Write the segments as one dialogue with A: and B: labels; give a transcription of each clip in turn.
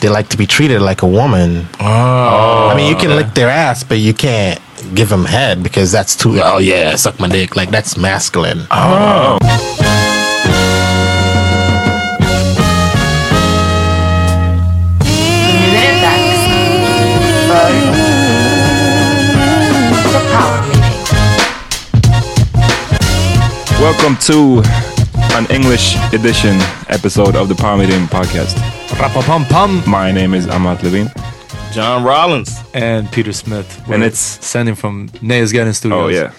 A: they like to be treated like a woman.
B: Oh.
A: I mean, you can lick their ass, but you can't give them head because that's too. Oh yeah, suck my dick. Like that's masculine.
B: Oh.
C: Welcome to an English edition episode of the Power Meeting podcast.
D: Rapapam-pam
C: My name is Amat Levin.
B: John Rollins.
D: and Peter Smith.
C: And it's-
D: sending from Nails Garden Studios.
C: Oh yeah,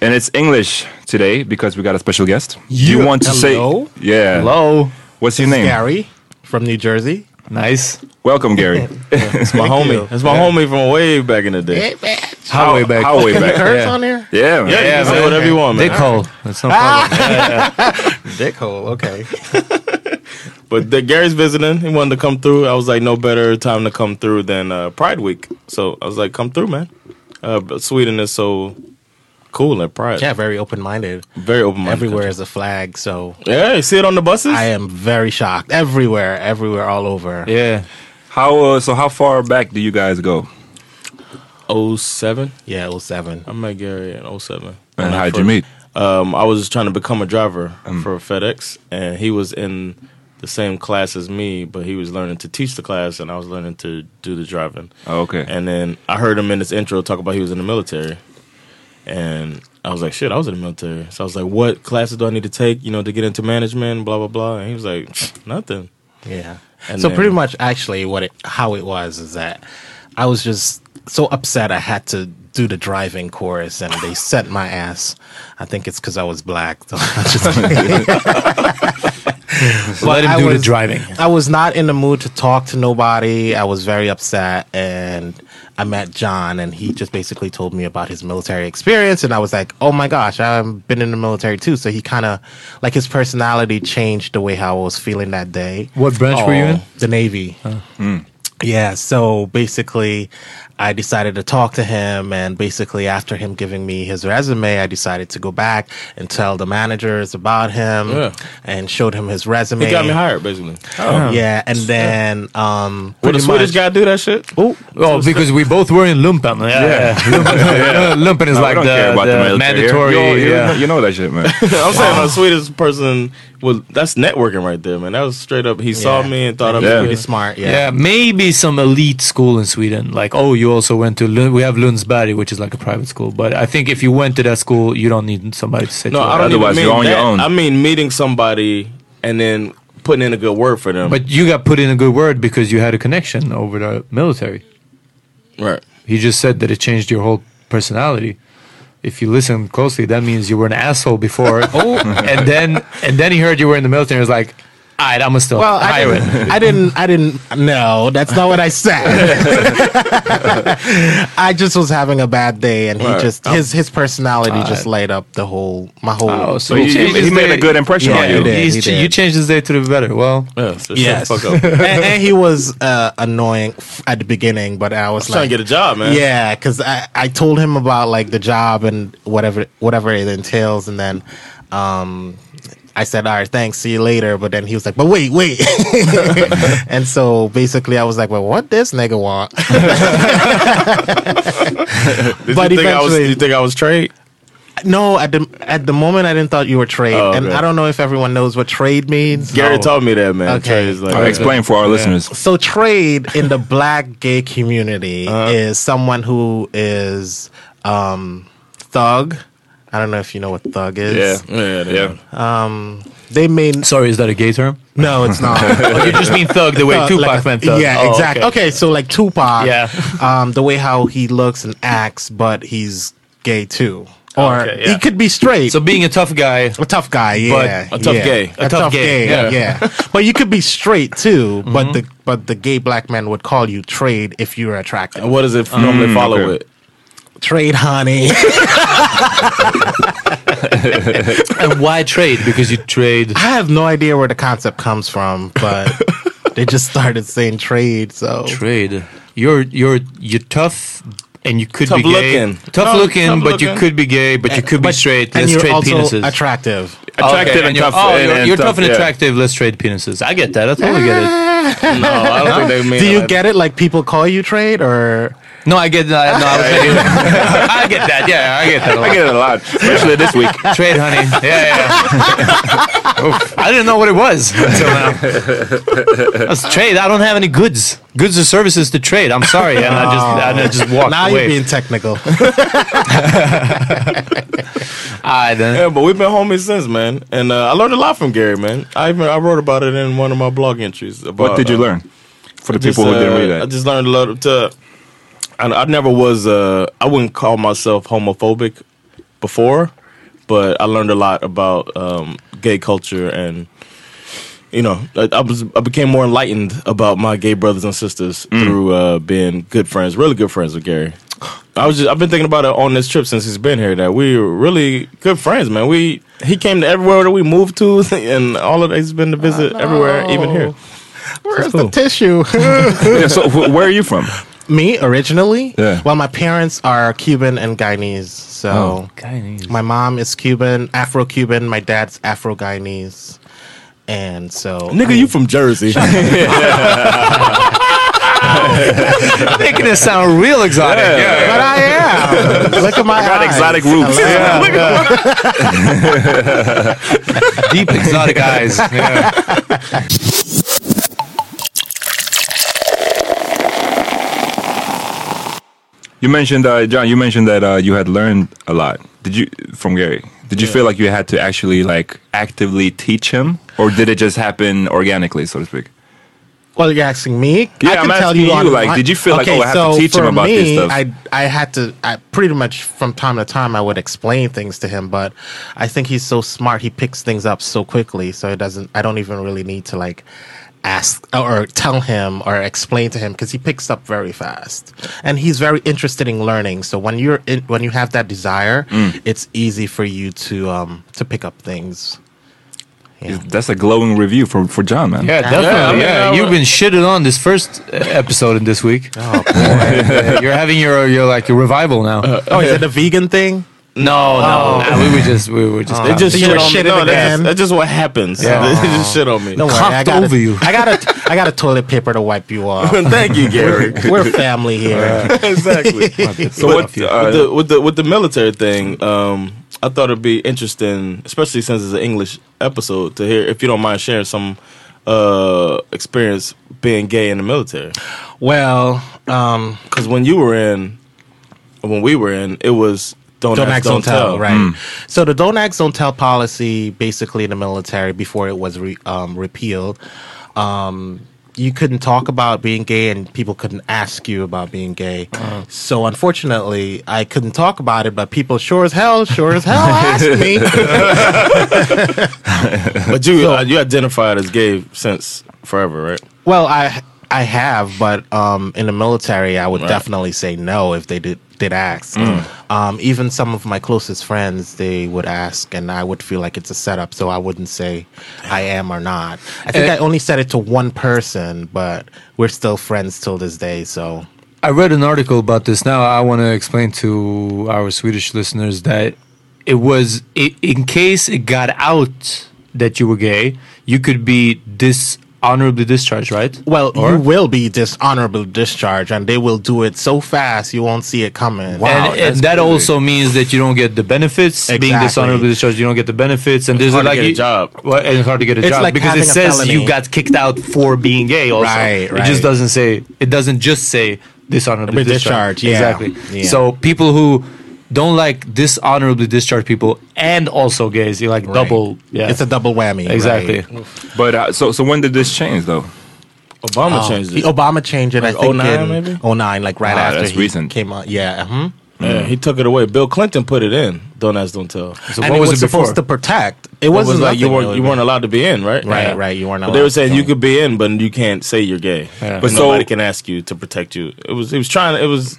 C: and it's English today because we got a special guest. Do you want to
D: Hello?
C: say? Yeah.
D: Hello.
C: What's your name?
A: Gary from New Jersey.
D: Nice.
C: Welcome, Gary.
B: That's my homie. That's my homie from way back in the day.
A: Hey, man.
D: How way back.
C: How way
A: Can you
C: back?
A: curse
D: Yeah.
A: on here?
C: Yeah. man.
B: Yeah, you can say whatever you want, man. Ah.
D: Dick hole. That's no problem.
A: Dickhole. Okay.
B: But the, Gary's visiting. He wanted to come through. I was like, no better time to come through than uh, Pride Week. So I was like, come through, man. Uh, but Sweden is so cool at Pride.
A: Yeah, very open-minded.
B: Very open minded.
A: Everywhere is a flag, so
B: Yeah, you see it on the buses?
A: I am very shocked. Everywhere, everywhere, all over.
D: yeah.
C: How uh, so? How far back do you guys go?
B: 07.
A: Yeah, 07.
B: I met Gary in 07.
C: And
B: When I
C: how'd you
B: first-
C: meet? Mm.
B: Um, I was just trying to become a driver for FedEx, and he was in the same class as me, but he was learning to teach the class, and I was learning to do the driving.
C: Oh, okay.
B: And then I heard him in his intro talk about he was in the military, and I was like, "Shit, I was in the military." So I was like, "What classes do I need to take, you know, to get into management?" Blah blah blah. And he was like, "Nothing."
A: Yeah.
B: And
A: so
B: then-
A: pretty much actually what it how it was is that I was just so upset I had to do the driving course and they sent my ass. I think it's because I was black. So I just-
D: Let him
A: I
D: do the
A: was-
D: driving.
A: I was not in the mood to talk to nobody. I was very upset and I met John and he just basically told me about his military experience. And I was like, oh my gosh, I've been in the military too. So he kind of, like, his personality changed the way how I was feeling that day. Oh,
D: What branch were you in?
A: The Navy.
B: Mm.
A: Yeah, so basically, I decided to talk to him, and basically, after him giving me his resume, I decided to go back and tell the managers about him
B: Yeah.
A: and showed him his resume.
B: He got me hired, basically.
D: Oh.
C: Oh. Um,
A: Yeah, and then um,
B: Would a
A: pretty
B: Swedish
A: much-
B: guy do that shit?
D: Oh, oh, because we both were in lumpen. Yeah, yeah. lumpen, lumpen is
C: No, we
D: like
C: don't
D: the,
C: care about the
D: the
C: military.
D: mandatory.
C: You, you,
D: yeah.
C: know, you know that shit, man.
B: I'm saying a Swedish person was that's networking right there, man. That was straight up. He saw
A: Yeah.
B: me and thought I'm
C: Yeah.
A: pretty smart. Yeah.
D: yeah. maybe some elite school in Sweden. Like, oh, you also went to Lund- we have Lundsberg, which is like a private school. But I think if you went to that school, you don't need somebody to sit.
B: No,
D: you
B: I
D: up.
B: don't
C: Otherwise,
B: even mean
C: you're on your
B: that.
C: own.
B: I mean meeting somebody and then putting in a good word for them.
D: But you got put in a good word because you had a connection over the military.
B: right.
D: He just said that it changed your whole personality. If you listen closely, that means you were an asshole before. oh, and then and then he heard you were in the military. and was like, all right, I'm gonna still
A: Well, I
D: hire it.
A: didn't, I didn't. I didn't. No, that's not what I said. I just was having a bad day, and he
B: Right.
A: just his his personality just light up the whole my whole.
D: Oh, so
C: He-
D: you changed
C: he,
D: his
C: made a
D: day-
C: good impression
A: Yeah,
C: on
A: he
C: you.
A: did.
D: He's ch-
A: did.
D: you changed his day to the better. Well,
B: Yeah. So shut
A: Yes.
B: the fuck up.
A: and, and he was uh, annoying f- at the beginning, but I was
B: trying
A: like,
B: to get a job, man.
A: Yeah, because I, I told him about like the job and whatever whatever it entails, and then um, I said, "All right, thanks, see you later." But then he was like, "But wait, wait," and so basically, I was like, "Well, what this nigga want?"
B: Did
A: But
B: you think I was?
A: eventually-
B: You think I was trade?
A: no, at the at the moment, I didn't thought you were trade,
B: Oh,
A: and
B: okay.
A: I don't know if everyone knows what trade means.
B: Gary told me that, man.
A: Okay.
B: Trade is like,
C: Uh, Explain for our listeners.
A: so trade in the black gay community
B: Uh-huh.
A: is someone who is um thug i don't know if you know what thug is
C: Yeah.
B: Yeah, yeah.
C: Yeah.
A: Um, they may n-
D: sorry, is that a gay term?
A: no it's not
D: Oh, you just mean thug the way
A: Uh,
D: Tupac
A: like a-
D: meant thug.
A: Yeah,
D: Oh,
A: exactly. Okay. so like Tupac,
D: Yeah.
A: um, the way how he looks and acts, but he's gay too, or
B: Okay, yeah.
A: he could be straight.
D: Oh, So being a tough guy,
A: a tough guy, yeah,
B: a tough
A: yeah.
B: gay.
A: a, tough, gay, yeah. but you could be straight too,
D: Mm-hmm.
A: but the but the gay black man would call you trade if you were attractive.
B: And what does it normally
D: Mm.
B: follow
C: Mm, okay.
B: with?
A: trade honey
D: and why trade? Because you trade.
A: i have no idea where the concept comes from but they just started saying trade so
D: Trade. You're you're you're tough, and you could
B: Tough
D: be gay.
B: looking.
D: Tough
B: No,
D: looking,
B: tough
D: but you
B: looking.
D: could be gay, but you could be
A: Eh, Uh, But-
D: straight.
A: and
D: Let's
A: you're
D: trade
A: also
D: penises.
A: attractive
C: Attractive
D: Okay,
C: and,
D: you're,
C: tough.
D: Oh,
C: and-
D: you're,
C: and
D: you're tough and
C: yeah.
D: attractive. Let's trade penises. I get that. I totally get it.
B: No, I don't think they mean.
A: do you
B: like-
A: get it like people call you trade or
D: No, I get that. No, I, was thinking, I get that. Yeah, I get that. A
C: I
D: lot.
C: get it a lot, especially this week.
D: Trade, honey. Yeah, yeah. yeah. Oof. I didn't know what it was until now. That's trade. I don't have any goods, goods or services to trade. I'm sorry, and I just, I just walked
A: now
D: away.
A: you're being technical
D: I didn't.
B: Yeah, but we've been homies since, man. And uh, I learned a lot from Gary, man. I even I wrote about it in one of my blog entries. About,
C: What did you
B: uh,
C: learn? For the
B: just,
C: people who didn't
B: uh,
C: read
B: I
C: that.
B: just learned a lot to. I, I never was. Uh, I wouldn't call myself homophobic before, but I learned a lot about um, gay culture and. You know, I, I was I became more enlightened about my gay brothers and sisters
C: Mm.
B: through uh, being good friends, really good friends with Gary. I was just I've been thinking about it on this trip since he's been here that we were really good friends, man. We he came to everywhere that we moved to, and all of he's been to visit everywhere, even here.
A: where's
B: cool.
A: the tissue
C: Yeah, so, wh- where are you from?
A: me originally
C: Yeah.
A: well my parents are cuban and guyanese so my mom is cuban afro-cuban my dad's afro-guyanese and so
B: Nigga, you from Jersey?
D: Making it sound real exotic. Yeah.
A: But I am. Look at my
C: Got
A: eyes.
C: exotic roots.
D: Deep exotic eyes. Yeah.
C: You mentioned, uh, John. You mentioned that uh, you had learned a lot. Did you from Gary? Did you feel like you had to actually like actively teach him, or did it just happen organically, so to speak?
A: Well, you're asking me.
C: Yeah, I'm asking you,
A: on
C: like,
A: my-
C: did you feel like, oh, I have to teach him
A: for
C: about this
A: me,
C: stuff?
A: I I had to. I pretty much from time to time I would explain things to him, but I think he's so smart he picks things up so quickly, so it doesn't. I don't even really need to like ask or tell him or explain to him because he picks up very fast and he's very interested in learning so when you're in, when you have that desire
C: Mm.
A: it's easy for you to um to pick up things
C: That's a glowing review for, for John, man.
D: Yeah,
B: I mean,
D: definitely.
B: I
D: Yeah,
B: would-
D: you've been shitted on this first uh, episode in this week. uh, Oh boy, you're having your your like your revival now.
A: oh is it a vegan thing Oh.
D: no, no, nah, we were just we were just.
B: They just
A: So you
B: shit
A: were
B: on me.
A: shitting
B: No, that's,
A: again?
B: just, that's just what happens.
D: Yeah.
B: They just shit on me.
A: Don't worry, I
D: Cocked
A: got
D: over
A: a,
D: you.
A: I got a I got a toilet paper to wipe you off
B: Thank you, Gary.
A: we're family here
B: exactly.
C: So
B: But
C: what? Uh,
B: with, the, with the with the military thing, um, I thought it'd be interesting, especially since it's an English episode, to hear if you don't mind sharing some uh, experience being gay in the military.
A: well um
B: Because when you were in, when we were in, it was don't, Mm.
A: don't
B: ask,
A: ask, don't tell, right? So the don't ask, don't tell policy, basically in the military before it was re, um, repealed, um, you couldn't talk about being gay, and people couldn't ask you about being gay.
B: Uh-huh.
A: So unfortunately, I couldn't talk about it, but people sure as hell, sure as hell asked me.
B: But you uh, you identified as gay since forever, right?
A: Well, I I have, but um, in the military, I would
B: Right.
A: definitely say no if they did did ask.
D: Mm.
A: Um, even some of my closest friends, they would ask, and I would feel like it's a setup, so I wouldn't say I am or not.
D: Eh.
A: I think I only said it to one person, but we're still friends till this day. So
D: I read an article about this. Now I want to explain to our Swedish listeners that it was i in case it got out that you were gay, you could be dishonorably discharged, right?
A: Well, you will be dishonorable discharged, and they will do it so fast you won't see it coming.
D: and and that also means that you don't get the benefits. Being
A: Exactly.
D: dishonorably discharged, you don't get the benefits, and there's
B: hard to
D: like
B: get a
D: you-
B: job.
D: Well, and it's hard to get a
A: It's
D: job
A: like
D: because it
A: having a
D: says
A: felony.
D: you got kicked out for being gay. Also,
A: Right,
D: it just
A: right.
D: doesn't say it doesn't just say dishonorably
A: Be
D: discharged.
A: discharged, yeah.
D: Exactly.
A: Yeah.
D: So people who don't like dishonorably discharged people and also gays, you like
A: Right.
D: double. Yeah,
A: It's a double whammy. right?
D: exactly.
C: but uh, so so when did this change though?
B: Obama
A: Oh,
B: changed
A: he-
B: it.
A: Obama changed it. oh I
B: Like
A: think
B: 09
A: in
B: maybe?
A: 09, like right
C: Ah,
A: after
C: that's
A: he
C: recent.
A: came on. Yeah, uh-huh.
B: Yeah, he took it away. Bill Clinton put it in. Don't ask, don't tell.
D: So
A: and
D: what
A: it was,
D: was it
A: supposed to
D: before?
A: protect. It
B: It
A: wasn't
B: was like you
A: nothing
B: weren't
A: really.
B: you weren't allowed to be in, right?
A: Right, right, you weren't
B: But they were
A: allowed,
B: saying you
A: so-
B: could be in, but you can't say you're gay.
D: Yeah.
B: But
C: But
B: nobody
C: so-
B: can ask you to protect you. It was it was trying. It was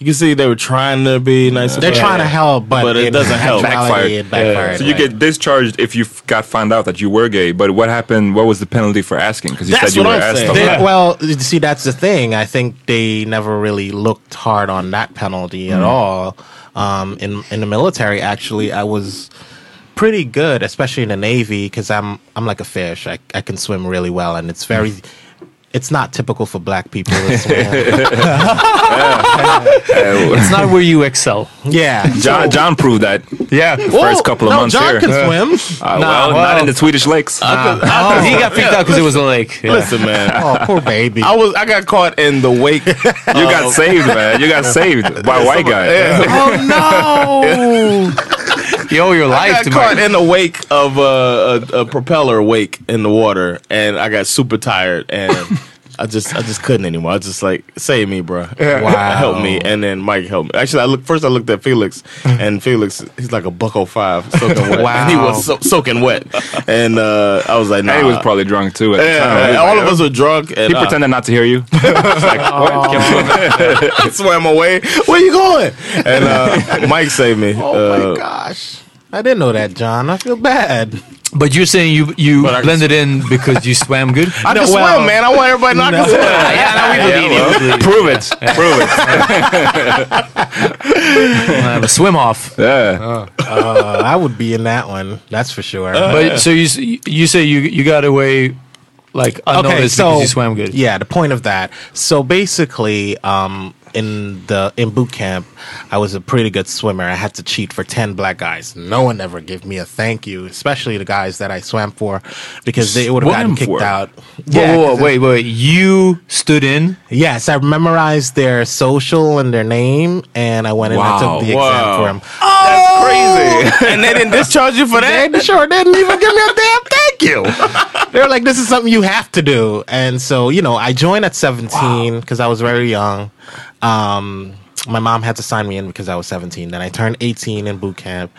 B: you can see they were trying to be nice.
A: They're
B: about
A: trying
B: it.
A: to help, but,
B: But it
A: in
B: doesn't help.
A: actuality,
B: Backfired.
A: It backfired
C: So you
A: right.
C: get discharged if you f- got found out that you were gay. But what happened? What was the penalty for asking? Because you
B: That's
C: said you
B: what
C: were
B: I'm
C: asked.
B: saying.
C: about
A: They-
C: that.
A: well, you see, that's the thing. I think they never really looked hard on that penalty
B: Mm.
A: at all. Um, in in the military, actually, I was pretty good, especially in the Navy, because I'm I'm like a fish. I I can swim really well, and it's very. It's not typical for black people to swim.
D: It's not where you excel.
A: yeah.
C: John, John proved that.
D: Yeah.
C: first couple of
A: no,
C: months
A: John
C: here.
A: can
C: Uh,
A: swim.
C: Uh,
D: Nah,
C: well, not
D: well.
C: in the Swedish lakes.
D: Oh, he got picked out because it was a lake. Yeah.
B: Listen, man.
A: Oh, poor baby. Oh.
B: I was I got caught in the wake. you
C: you got saved, man. You got saved by a white guy.
D: Oh no! you owe your life
B: I
D: to
B: got
D: my
B: caught in the wake of uh, a, a propeller wake in the water, and I got super tired, and I just I just couldn't anymore. I was just like, save me, bro,
A: Wow.
B: help me, and then Mike helped me. Actually, I look first. I looked at Felix, and Felix he's like a buck oh five, soaking wet.
A: Wow.
B: and he was so, soaking wet, and uh, I was like, nah.
C: And he was probably drunk too. At the time.
B: yeah, and
C: He was
B: all
C: like,
B: of us were drunk, and
C: He
B: uh,
C: pretended not to hear you. He's like,
A: Oh.
C: what? Kept going.
B: I swam away. Where you going? And uh, Mike saved me.
A: oh
B: Uh,
A: my gosh. I didn't know that, John. I feel bad.
D: But you're saying you you
B: But I-
D: blended in because you swam good.
B: I
D: No,
B: can swim,
D: well,
B: man. I want everybody not to
D: No.
B: swim.
C: Yeah, well, prove it. Prove it.
D: uh, but swim off.
C: Yeah.
A: Uh, I would be in that one. That's for sure.
D: But so you s- you say you you got away like unnoticed because you swam good.
A: Yeah, the point of that. So basically, um, in the in boot camp, I was a pretty good swimmer. I had to cheat for ten black guys. No one ever gave me a thank you, especially the guys that I swam for, because they would have
C: Swam
A: gotten kicked
C: for?
A: out.
D: Whoa,
A: Yeah,
D: whoa,
A: 'cause
D: whoa, wait, wait. You stood in.
A: Yes, I memorized their social and their name, and I went and I took the
B: wow.
A: exam for them.
B: That's crazy. Oh! and they didn't discharge you for that?
A: They sure didn't even give me a damn thank you. They were like, "This is something you have to do," and so you know, I joined at seventeen because I was very young. Um, my mom had to sign me in because I was seventeen. Then I turned eighteen in boot camp,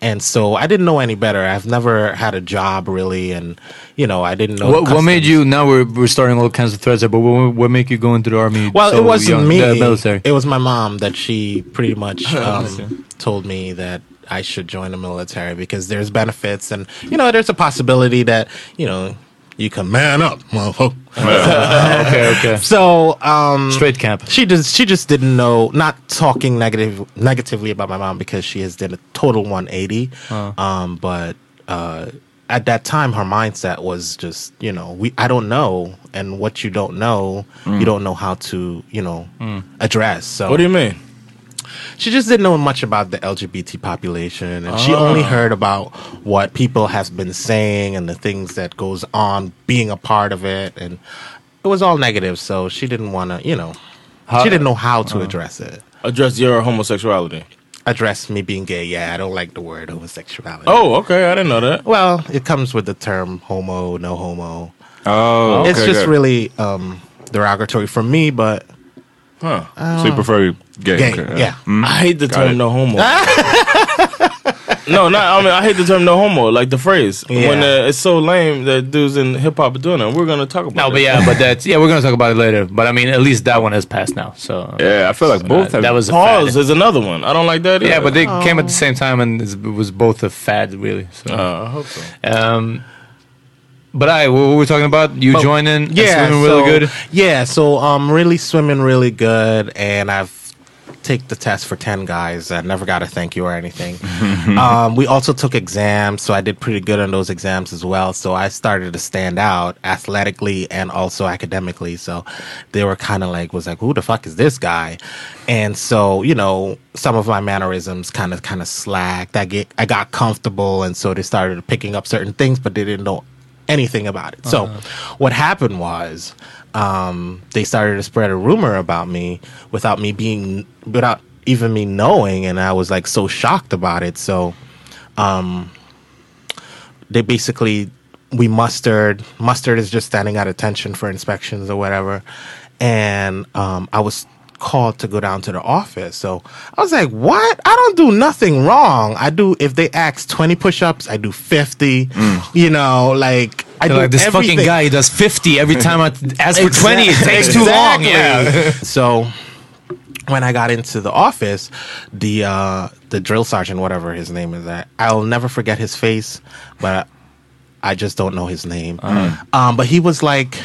A: And so I didn't know any better. I've never had a job really, and you know I didn't know.
D: What, what made
A: customs.
D: you? Now we're we're starting all kinds of threads, here, but what, what made you go into the army?
A: Well,
D: so
A: it wasn't
D: young,
A: me.
D: The military.
A: It was my mom that she pretty much um, told me that I should join the military because there's benefits and you know there's a possibility that you know you can man up, motherfucker.
D: okay, okay.
A: So um,
D: Straight camp.
A: she just she just didn't know. Not talking negative negatively about my mom because she has done a total 180. Um, but uh, at that time, her mindset was just you know we I don't know, and what you don't know, you don't know how to you know address. So
B: Mm. What do you mean?
A: she just didn't know much about the LGBT population, and she
B: Ah.
A: only heard about what people have been saying and the things that goes on being a part of it, and it was all negative. So she didn't want to, you know, she didn't know how
B: Uh.
A: to address it.
B: Address your homosexuality.
A: Address me being gay. Yeah, I don't like the word homosexuality.
B: Oh, okay. I didn't know that.
A: well, it comes with the term homo, no homo.
C: Oh,
A: it's
C: okay,
A: just
C: good.
A: really um, derogatory for me, but
B: Huh. Hmm?
C: So you prefer gay?
A: gay.
C: okay,
A: yeah. Ah!
B: I hate the
C: it.
B: term no homo. no, not. I mean, I hate the term no homo. Like the phrase when
A: Yeah.
B: uh, it's so lame that dudes in hip hop are doing it. We're gonna talk about.
D: No,
B: it.
D: but yeah, but that's yeah. We're gonna talk about it later. But I mean, at least that one has passed now. So uh,
C: Yeah, I feel like both
D: that,
C: have.
D: that was a fad.
B: Pause is another one. I don't like that.
D: Yeah,
B: either.
D: but they
A: Oh.
D: came at the same time, and it's- it was both a fad, really. So.
B: Uh, I hope so.
D: Um, but I, what were we talking about? You joining? and
A: yeah,
D: swimming
A: so,
D: really good.
A: Yeah, so um, really swimming really good, and I've take the test for ten guys. I never got a thank you or anything. um, we also took exams, so I did pretty good on those exams as well. So I started to stand out athletically and also academically. So they were kind of like, was like, who the fuck is this guy? And so you know, some of my mannerisms kind of kind of slacked. I get I got comfortable, and so they started picking up certain things, but they didn't know anything about it. So, what happened was um, they started to spread a rumor about me without me being, without even me knowing, and I was like so shocked about it. So, um, they basically we mustered. Mustered is just standing at attention for inspections or whatever, and um, I was called to go down to the office. So I was like, "What? I don't do nothing wrong. I do if they ask twenty push-ups, I do fifty. You know, like
D: Mm. They're
A: I do
D: like this
A: everything."
D: fucking guy. He does fifty every time I ask for twenty. It takes too long. Yeah.
A: Exactly. so when I got into the office, the uh, the drill sergeant, whatever his name is, I, I'll never forget his face, but I just don't know his name. Um, but he was like,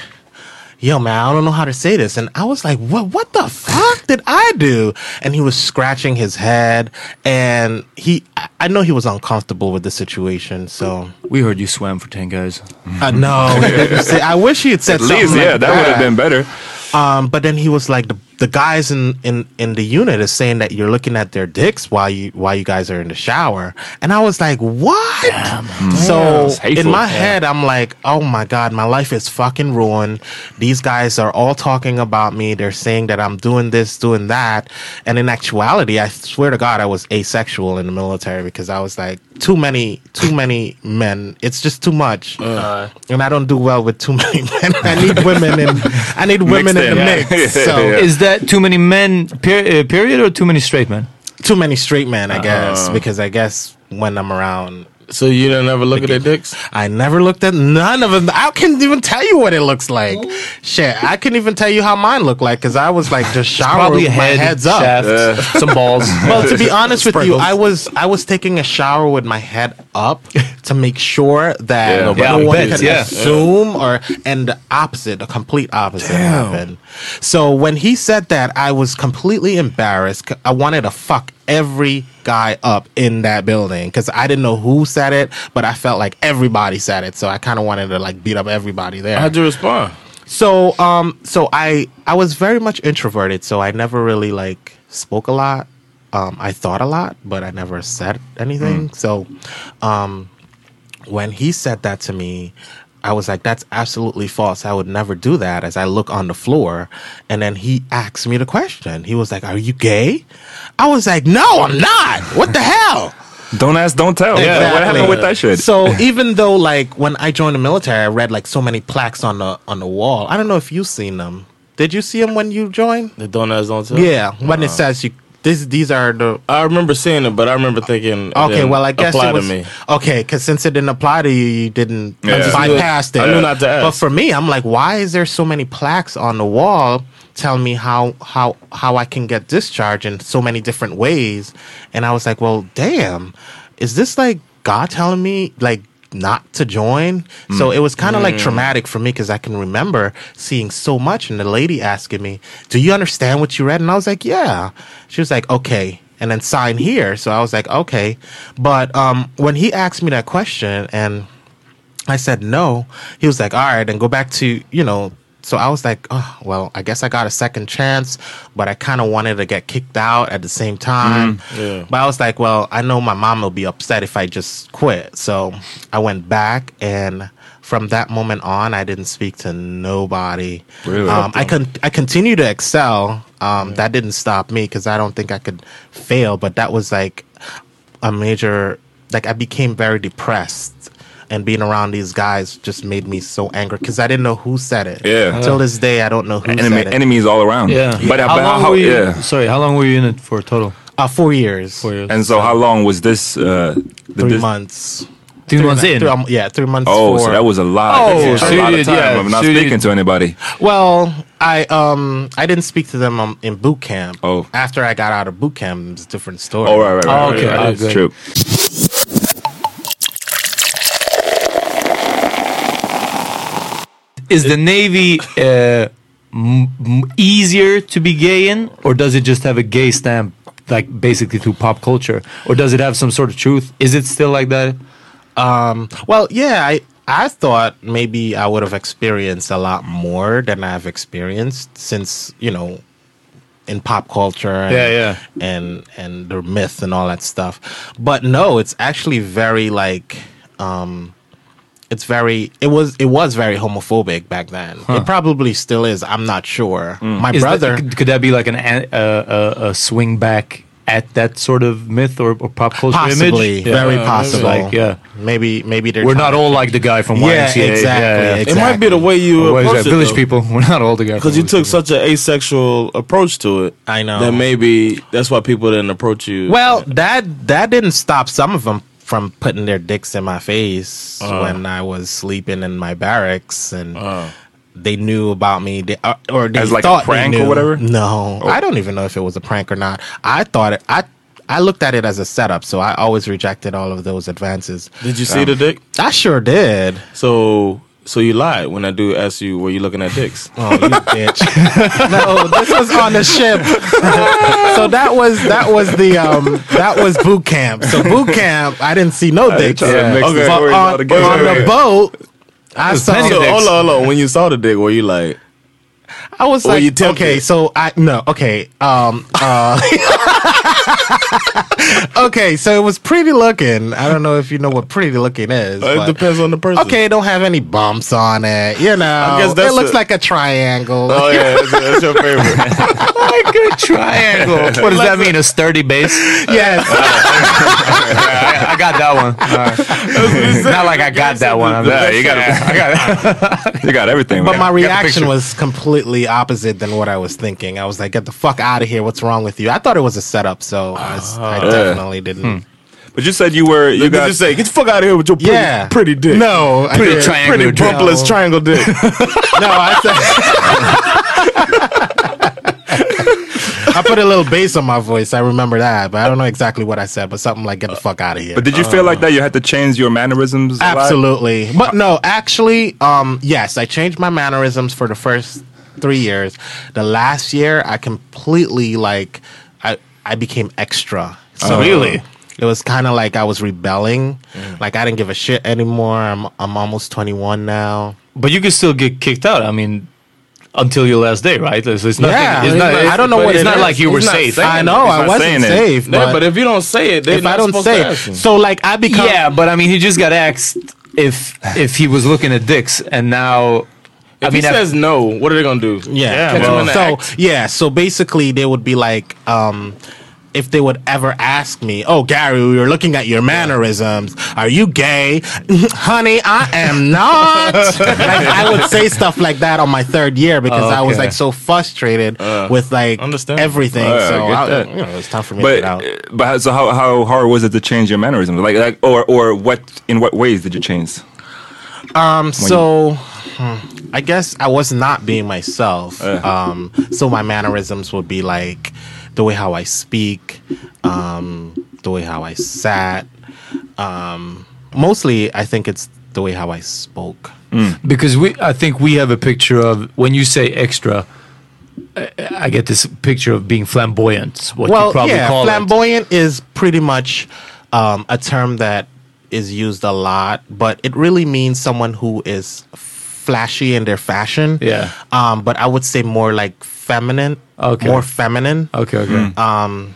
A: "Yo, man, I don't know how to say this," and I was like, "What? What the fuck did I do?" And he was scratching his head, and he, I- I know he was uncomfortable with the situation, so
D: We heard you swam for ten guys.
A: I know. he didn't say- I wish he had
C: At
A: said
C: least,
A: something like
C: yeah, that would have
A: that.
C: been better.
A: Um, but then he was like, the, the guys in, in, in the unit is saying that you're looking at their dicks while you while you guys are in the shower, and I was like, what?
E: Mm.
A: so
C: It's hateful.
A: in my
C: Yeah.
A: head, I'm like, oh my god, my life is fucking ruined. These guys are all talking about me. They're saying that I'm doing this, doing that, and in actuality, I swear to God, I was asexual in the military because I was like, too many, too many men. It's just too much,
C: Uh.
A: and I don't do well with too many men. I need women, and I need women
C: Mixed
A: in the
C: in, yeah.
A: mix.
C: Yeah,
A: So
C: yeah.
D: Is that too many men? Per- uh, period or too many straight men?
A: too many straight men, I guess, because I guess when I'm around.
B: Uh-uh. So you don't ever look at their dicks?
A: I never looked at none of them. I couldn't even tell you what it looks like. Shit, I couldn't even tell you how mine looked like because I was like just showering
D: Probably
A: with
D: a
A: my
D: head,
A: heads up.
D: shaft, some balls.
A: Well, to be honest with you,
D: Sprinkles.
A: I was I was taking a shower with my head up to make sure that
C: Yeah.
A: no,
C: Yeah, I
A: one
D: bet,
A: can
D: yeah.
A: assume or and the opposite, the complete opposite happened. So when he said that, I was completely embarrassed. C- I wanted to fuck every guy up in that building because I didn't know who said it, but I felt like everybody said it. So I kind of wanted to like beat up everybody there.
B: How'd you respond?
A: So um so I I was very much introverted, so I never really like spoke a lot. Um I thought a lot, but I never said
B: Mm.
A: anything. So um when he said that to me, I was like, that's absolutely false. I would never do that as I look on the floor. And then he asked me the question. He was like, Are you gay? I was like, No, I'm not. What the hell?
C: Don't ask, don't tell. Yeah, what happened with that shit?
A: So even though like when I joined the military, I read like so many plaques on the on the wall. I don't know if you've seen them. Did you see them when you joined?
B: The donuts don't tell.
A: Yeah, when it says you This, these are the
B: I remember seeing it, but I remember thinking. it
A: okay.
B: didn't
A: Well, I guess
B: apply
A: it was
B: to me.
A: okay because since it didn't apply to you, you didn't
C: Yeah. I just
B: knew-
A: bypassed it.
B: I knew not to ask.
A: But for me, I'm like, why is there so many plaques on the wall telling me how how how I can get discharged in so many different ways? And I was like, well, damn, is this like God telling me like? not to join so it was kind of like traumatic for me because i can remember seeing so much and the lady asking me do you understand what you read and i was like yeah she was like okay and then sign here so i was like okay but um when he asked me that question and I said no. He was like, all right, then go back to, you know. So I was like, oh, well, I guess I got a second chance, but I kind of wanted to get kicked out at the same time.
B: Yeah.
A: But I was like, well, I know my mom will be upset if I just quit. So I went back, and from that moment on, I didn't speak to nobody.
C: Really?
A: Um, I con- I continue to excel. Um, That didn't stop me because I don't think I could fail. But that was like a major. Like I became very depressed, and being around these guys just made me so angry because I didn't know who said it.
D: Uh-huh.
C: Yeah.
A: Till this day, I don't know who
C: Enemy,
A: said it.
C: enemies all around.
D: Yeah.
C: But
D: how
C: about
D: long
C: how,
D: were you,
C: yeah.
D: Sorry, how long were you in it for total?
A: uh, four years.
D: Four years.
C: And so how long was this? Uh, the-
A: Three
C: this-
A: months.
D: Three months
A: three-
D: in?
A: three- um, yeah, three months.
C: Oh,
A: for-
C: so that was a lot.
D: Oh,
C: That's
D: so
C: a
D: you
C: lot of
D: did,
C: time
D: yeah,
C: of not
D: so you
C: speaking
D: did-
C: to anybody.
A: Well, I um I didn't speak to them um, in boot camp.
C: Oh.
A: after I got out of boot camp, it's a different story.
C: Oh, right, right, right.
D: Oh, okay.
C: right,
D: Oh,
C: right.
D: good.
C: True.
D: Is the Navy uh, m- m- easier to be gay in, or does it just have a gay stamp, like basically through pop culture? Or does it have some sort of truth? Is it still like that?
A: Um, Well, yeah, I I thought maybe I would have experienced a lot more than I've experienced since you know in pop culture and,
D: Yeah, yeah.
A: and and the myth and all that stuff but no it's actually very like um it's very it was it was very homophobic back then it probably still is i'm not sure my
D: Hmm. Is that-
A: brother
D: could- could that be like an an- uh, a, a swing back at that sort of myth or, or pop culture
A: possibly
D: image?
A: very
D: Yeah.
A: possible
D: Like, yeah.
A: maybe maybe they're
D: We're not
A: trying-
D: all like the guy from YMCA.
A: yeah exactly,
D: yeah, yeah.
A: exactly
B: It might be the way you
D: What is
B: approach
D: that?
B: it,
D: Village
B: though.
D: people. We're not all the guy.
B: Because you took such an asexual approach to it.
A: I know.
B: That maybe that's why people didn't approach you.
A: Well, that that didn't stop some of them from putting their dicks in my face
D: Uh.
A: when I was sleeping in my barracks, and they knew about me, they, uh, or they
C: As like a
A: thought they
C: prank or
A: knew.
C: whatever?
A: No, I don't even know if it was a prank or not. I thought it. I I looked at it as a setup, so I always rejected all of those advances.
B: did you see the dick?
A: Um, I sure did.
B: So, so you lied when I do ask you, were you looking at dicks?
A: Oh, you bitch! no, this was on the ship. so that was that was the um that was boot camp. So boot camp, I didn't see no dicks.
C: trying to mix the
A: But
C: stories all
A: on,
C: together.
A: on
C: Wait,
A: the
C: wait.
A: boat, I saw.
B: so, hold on, hold on. When you saw the dick, were you like,
A: I was
B: Were
A: like,
B: you tempted?
A: okay, so I no, okay, um, uh, okay, so it was pretty looking. I don't know if you know what pretty looking is.
B: Uh, it
A: but-
B: depends on the person.
A: Okay, it don't have any bumps on it. You know,
B: guess that's
A: it looks
B: a-
A: like a triangle.
B: Oh, yeah, that's, that's your favorite.
D: like a triangle. What does that mean? A sturdy base?
A: yes.
D: I, I got that one. Alright. Not like I got that one. I'm
C: Yeah,
D: like,
C: you got, I got, you got everything.
A: But
C: man.
A: my
C: Got the picture.
A: reaction was completely opposite than what I was thinking. I was like, "Get the fuck out of here! What's wrong with you?" I thought it was a setup, so I, s-
C: Ah.
A: I definitely didn't.
C: Uh, But you said you were. You
B: You
C: got.
B: guys just say, get the fuck out of here with your pretty,
A: Yeah.
B: pretty dick.
A: No, Oh, I Oh.
D: Pretty
A: didn't.
D: triangular
B: Pretty
D: dick.
B: bumpless triangle dick.
A: No, I said. I put a little bass on my voice. I remember that, but I don't know exactly what I said. But something like "Get the fuck out of here." Uh,
C: but did you feel like that? You had to change your mannerisms. a lot? Uh,
A: Absolutely. But no, actually, um, yes, I changed my mannerisms for the first three years. The last year, I completely like I I became extra. So
D: Really?
A: It was kind of like I was rebelling. Like I didn't give a shit anymore. I'm I'm almost 21 now.
D: But you can still get kicked out. I mean, until your last day, right? So it's nothing.
A: Yeah,
D: it's not,
A: I don't know
D: but
A: what
D: it's
A: it
D: not
A: is.
D: like you were
A: He's not
D: safe.
C: saying
A: I know
C: He's
A: I
C: not
A: wasn't
C: saying it.
A: safe,
B: Yeah,
A: but,
B: but if you don't say it, they're
A: if I don't
B: say
A: say it, so like I become
D: yeah, but I mean, he just got asked if if he was looking at dicks, and now
B: if
D: I mean,
B: he
D: I-
B: says no, what are they gonna do?
A: Yeah.
B: Catch him in the
A: so
B: act.
A: yeah. So basically, they would be like, um, if they would ever ask me, "Oh, Gary, we were looking at your mannerisms. Are you gay, honey? I am not." like I would say stuff like that on my third year because I was
D: okay.
A: like so frustrated with like
B: understand.
A: everything.
F: Oh, yeah,
A: so
F: I get
A: I,
F: that.
A: you know, it's time for me to
F: But
A: get out.
C: But so how, how hard was it to change your mannerisms? Like, like or or what in what ways did you change?
A: Um, so hmm, I guess I was not being myself.
D: Eh.
A: Um, so my mannerisms would be like the way how I speak, um, the way how I sat. Um, mostly, I think it's the way how I spoke.
D: because we I think we have a picture of when you say extra I- I get this picture of being flamboyant what you probably call it
A: flamboyant is pretty much um, a term that is used a lot, but it really means someone who is flashy in their fashion.
D: Yeah.
A: Um, but I would say more like feminine.
D: Okay.
A: More feminine.
D: okay okay
A: Mm. Um,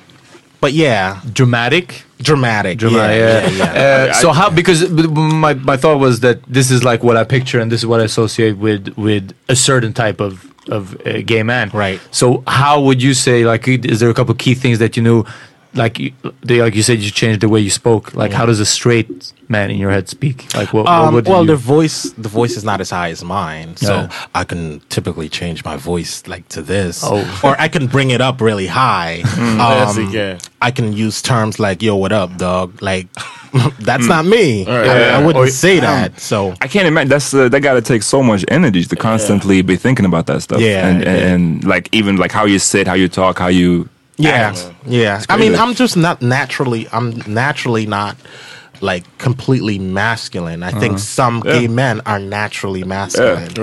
A: But yeah,
D: dramatic
A: dramatic.
D: dramatic yeah, Uh, so how because b- b- my, my thought was that this is like what I picture and this is what I associate with with a certain type of of uh, gay man
A: Right.
D: so how would you say like i- is there a couple key things that you knew like you, they, like you said you changed the way you spoke like how does a straight man in your head speak like what, what
A: Mm. Um,
D: would
A: well,
D: you
A: the voice the voice is not as high as mine, so
D: Yeah.
A: I can typically change my voice like to this,
D: Oh. Mm,
A: or I can bring it up really high.
B: Yes,
A: Um,
B: you can.
A: I can use terms like "Yo, what up, dog?" Like that's
D: Mm.
A: not me. I, I wouldn't
B: Oh,
A: say
D: um,
A: that. So
C: Hmm. I can't imagine. That's uh, that gotta take so much energy to constantly be thinking about that stuff.
A: Yeah,
C: and,
A: yeah.
C: and like even like how you sit, how you talk, how you.
A: yeah, yeah. I mean,
C: crazy.
A: I'm just not naturally. I'm naturally not. Like completely masculine. I think some gay men are naturally masculine,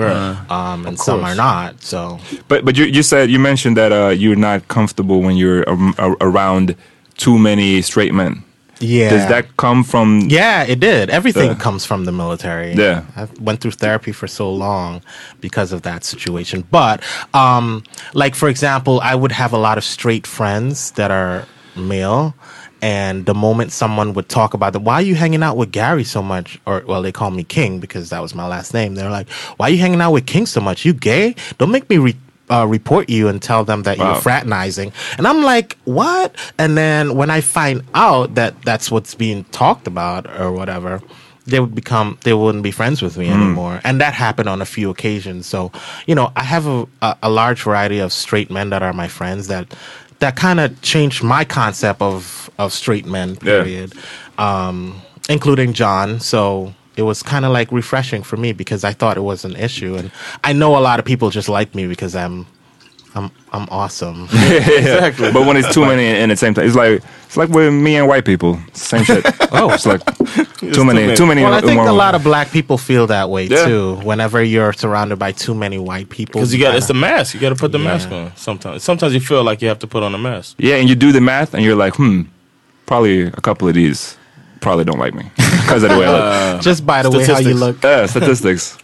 A: um, and some are not. So
C: But but you you said you mentioned that uh, you're not comfortable when you're um, a- around too many straight men.
A: yeah,
C: Does that come from?
A: Yeah, it did. Everything
C: Yeah.
A: comes from the military.
C: Yeah.
A: I went through therapy for so long because of that situation. But um like for example, I would have a lot of straight friends that are male and the moment someone would talk about them, why are you hanging out with Gary so much? Or well, they call me King because that was my last name. They're like, why are you hanging out with King so much? You gay? Don't make me re- uh, report you and tell them that you're fraternizing. And I'm like, what? And then when I find out that that's what's being talked about or whatever, they would become they wouldn't be friends with me anymore. And that happened on a few occasions. So you know, I have a, a, a large variety of straight men that are my friends that that kind of changed my concept of of straight men. Period. Um, including John. So. It was kind of like refreshing for me because I thought it was an issue, and I know a lot of people just like me because I'm, I'm, I'm awesome.
C: exactly. But when it's too many in the same time, it's like it's like with me and white people, same shit. oh, it's like too many, too many.
A: Well, I think
C: more-
A: a lot of black people feel that way
C: Yeah.
A: too. Whenever you're surrounded by too many white people,
B: Because you got it's the
A: kinda-
B: mask. You got to put the mask on. Sometimes, sometimes you feel like you have to put on a mask.
C: Yeah, and you do the math, and you're like, hmm, probably a couple of these probably don't like me because of the way I look.
A: just by the way how you
B: Statistics.
A: look.
C: Uh, statistics.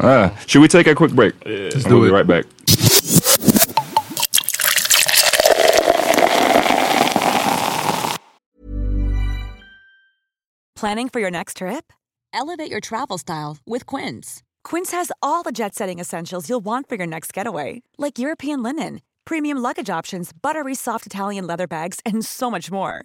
C: Uh, should we take a quick break? And
D: do
C: we'll
D: it.
C: be right back.
G: Planning for your next trip? Elevate your travel style with Quince. Quince has all the jet setting essentials you'll want for your next getaway, like European linen, premium luggage options, buttery soft Italian leather bags, and so much more.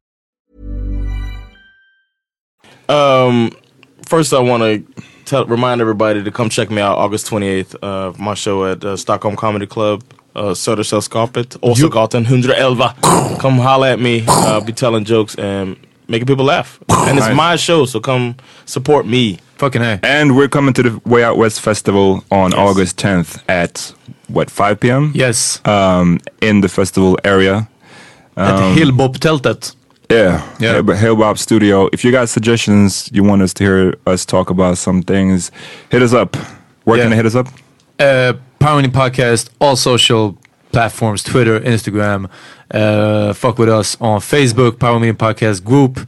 B: Um, first, I want to tell, remind everybody to come check me out August 28th. Uh, my show at uh, Stockholm Comedy Club, uh, Södersällskapet, Åsagatan 111. come holla at me. Uh, I'll be telling jokes and making people laugh. and it's my show, so come support me.
D: Fucking hey.
C: And we're coming to the Way Out West Festival on August 10th at what 5 p.m.
D: Yes.
C: Um, in the festival area. Um,
D: At Hillbop-tältet.
C: Yeah,
D: Yeah.
C: Hey, but Hail Bob Studio. If you got suggestions, you want us to hear us talk about some things, hit us up. Where
D: Yeah.
C: can they hit us up?
D: uh, Power Meeting Podcast, all social platforms, Twitter, Instagram. Uh, fuck with us on Facebook, Power Meeting Podcast group,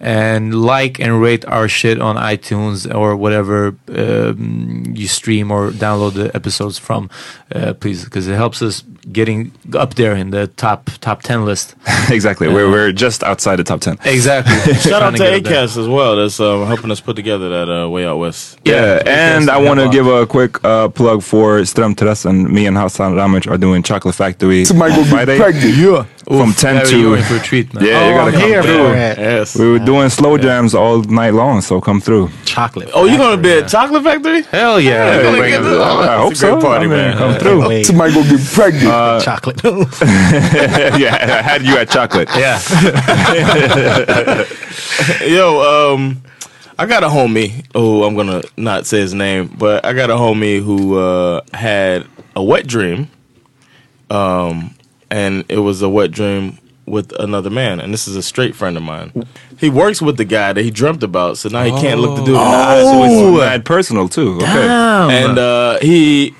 D: and like and rate our shit on iTunes or whatever um, you stream or download the episodes from, uh, please, because it helps us getting up there in the top top ten list.
C: exactly. We're, we're just outside the top ten.
D: Exactly.
B: Shout out to
D: Trying get up there.
B: ACAST as well. That's uh, helping us put together that uh, Way Out West.
C: Yeah, and I
B: Hail
C: want to
B: Bob.
C: give a quick uh, plug for Strömterrassen. Me and Hassan Ramic are doing Chocolate Factory on Friday
D: Yeah.
C: from ten
D: Barry, you're in
C: to.
D: for a treat, man.
C: Yeah, you gotta
A: I'm
C: come
A: here
C: through.
A: for it.
B: Yes.
C: We were doing slow jams all night long, so come through.
A: Chocolate.
B: Oh, you gonna be at Chocolate Factory?
D: Hell yeah.
C: Yeah,
B: bring it.
C: I hope
B: It's a great
C: so.
B: party,
C: I mean,
B: man.
C: Come through.
A: Wait,
F: Michael get pregnant.
B: Uh,
A: chocolate.
C: yeah, I had you at chocolate.
D: Yeah.
B: Yo, um, I got a homie. Oh, I'm gonna not say his name, but I got a homie who uh, had a wet dream, um, and it was a wet dream with another man. And this is a straight friend of mine. He works with the guy that he dreamt about, so now he Oh, can't look the dude in the eye. So it's-
C: Oh, and personal too. Okay.
B: and uh, he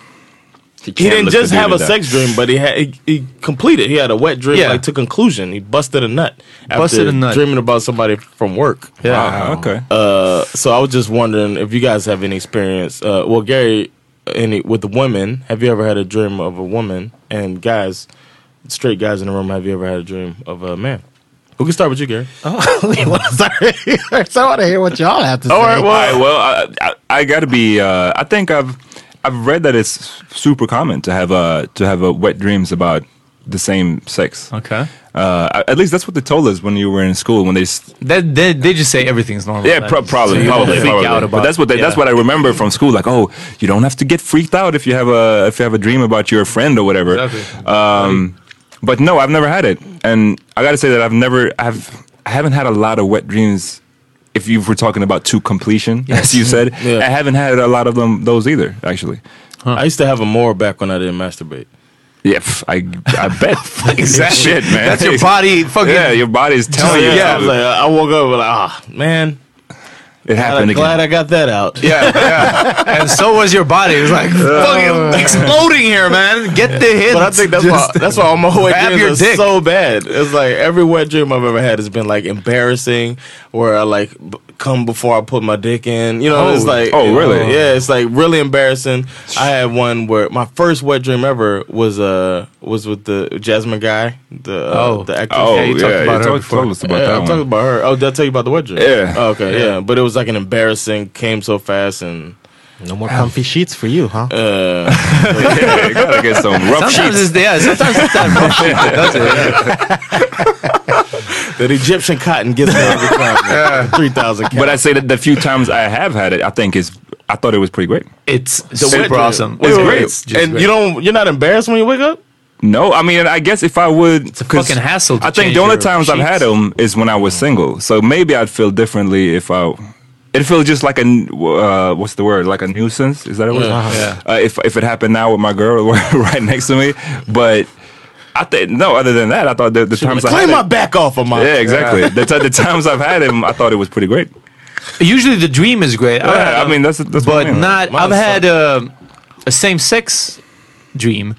C: He
B: he didn't just have a sex dream, but he had he, he completed. He had a wet dream
D: Yeah.
B: like to conclusion. He busted a nut after
D: Busted a nut.
B: dreaming about somebody from work.
D: Yeah.
C: Okay.
B: Uh, so I was just wondering if you guys have any experience. Uh, well, Gary, any with the women? Have you ever had a dream of a woman? And guys, straight guys in the room, have you ever had a dream of a man? We can start with you, Gary.
D: Oh.
A: Sorry. so I want to hear what y'all have to say.
C: All right. Well, I, well, I, I, I gotta be. Uh, I think I've I've read that it's super common to have uh to have uh, wet dreams about the same sex.
D: Okay.
C: Uh, at least that's what they told us when you were in school. When they, s-
D: That they, they just say everything's normal.
C: yeah, pro-
D: That's-
C: probably,
D: you don't
C: probably,
D: freak
C: probably.
D: out
C: but
D: about-
C: that's what they, that's
D: yeah.
C: what I remember from school. Like, oh, you don't have to get freaked out if you have a if you have a dream about your friend or whatever.
D: Exactly.
C: Um, but no, I've never had it, and I gotta say that I've never, I've, I haven't had a lot of wet dreams. If you were talking about to completion, as you said,
B: Yeah.
C: I haven't had a lot of them those either. Actually,
B: I used to have a more back when I didn't masturbate.
C: yeah, pff, I, I bet exactly. Shit, man,
D: That's your body fucking.
C: Yeah, your body's telling you.
B: I was like, I woke up and like, ah, man,
C: it happened
B: I'm
C: again.
B: glad I got that out.
C: yeah, yeah. Uh,
D: and so was your body. It was like fucking exploding here, man. Get the hit.
B: But I think that's why that's why all my wet
D: Grab your
B: dreams are
D: dick.
B: so bad. It's like every wet dream I've ever had has been like embarrassing, where I like b- come before I put my dick in. You know, it's like
C: Oh, really?
B: Yeah, it's like really embarrassing. I had one where my first wet dream ever was uh was with the Jasmine guy, the uh,
D: Oh.
B: the actress.
C: Oh, yeah.
D: Yeah, you
C: You
D: talked about her
C: told,
D: before.
C: told us about
B: Yeah,
C: that
B: I'm
C: one.
B: talking about her. Oh, did I tell you about the wet dream?
A: Uh,
C: Yeah.
B: Oh, okay. Yeah. But it was like an embarrassing. Came so fast and
A: No more comfy sheets for you, huh?
C: Uh, yeah, you gotta get some rough
D: sometimes
C: sheets.
D: it's yeah. Sometimes it's that rough shit that does it. yeah.
B: that Egyptian cotton gets me every time. Three thousand.
C: But I say that the few times I have had it, I think is, I thought it was pretty great.
D: It's super
B: Wait,
D: awesome.
B: wait, wait, wait.
D: It's just
B: and
D: great.
B: you don't, you're not embarrassed when you wake up.
C: No, I mean, I guess if I would, it's
D: a fucking hassle to
C: I think
D: change
C: the only
D: your
C: times I've had
D: sheets.
C: them is when I was single. So maybe I'd feel differently if I. It feels just like a n- uh, what's the word? Like a nuisance? Is that a word?
D: Yeah.
C: Uh, if if it happened now with my girl right next to me, but I think no. Other than that, I thought the, the times I
B: Clean
C: had
B: my
C: it,
B: back off of my.
C: yeah, exactly. The, ti- the times I've had him, I thought it was pretty great.
D: usually the dream is great. I've had
C: Yeah, I
D: them,
C: mean that's that's. what
D: but
C: I mean.
D: not.
B: Mine
D: I've
B: suck.
D: had um a same sex dream.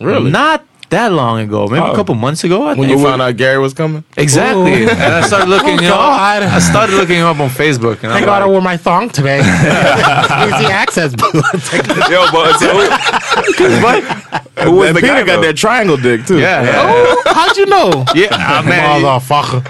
B: Really?
D: Not that long ago. Maybe
C: Oh.
D: a couple months ago. I
B: When
D: think.
B: you found out Gary was coming,
D: Exactly. And I started looking.
C: Oh,
D: you know, I started looking him up on Facebook. And I'm
A: Thank God I
D: like,
A: wore my thong today. Easy access.
C: Yo, but so who, who was
B: and
C: the
B: Peter
C: guy?
B: got
C: though?
B: that triangle dick too.
D: yeah.
A: oh, how'd you know?
C: ah,
D: Yeah, I mean,
A: Motherfucker.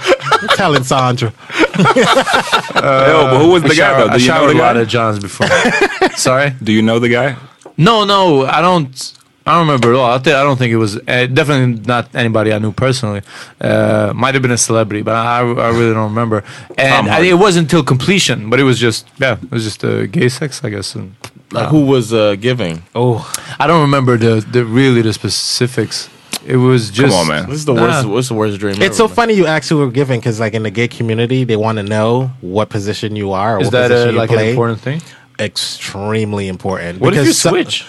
A: You're telling Sandra.
D: Uh,
F: Yo, but who was
D: I
F: the guy
D: shower-
F: though?
D: I
F: Do you know
D: showered
F: the
D: a lot
F: guy?
D: of Johns before. Sorry.
F: Do you know the guy?
D: No, no, I don't. I don't remember at all. I, th- I don't think it was uh, definitely not anybody I knew personally. Uh, might have been a celebrity, but I, I really don't remember. And I,
F: Hardy.
D: it wasn't until completion, but it was just yeah, it was just uh, gay sex, I guess. And
B: Like who was uh, giving?
D: oh, I don't remember the, the really the specifics. It was just
F: on, man.
B: This is the worst.
D: Nah.
B: What's the worst dream?
A: It's so
B: ever, man.
A: funny you actually were given because, like, in the gay community, they want to know what position you are or
D: Is
A: what
D: that
A: position
D: uh,
A: you
D: like
A: play.
D: an important thing?
A: Extremely important.
D: What if
A: because
D: you
A: some-
D: switch?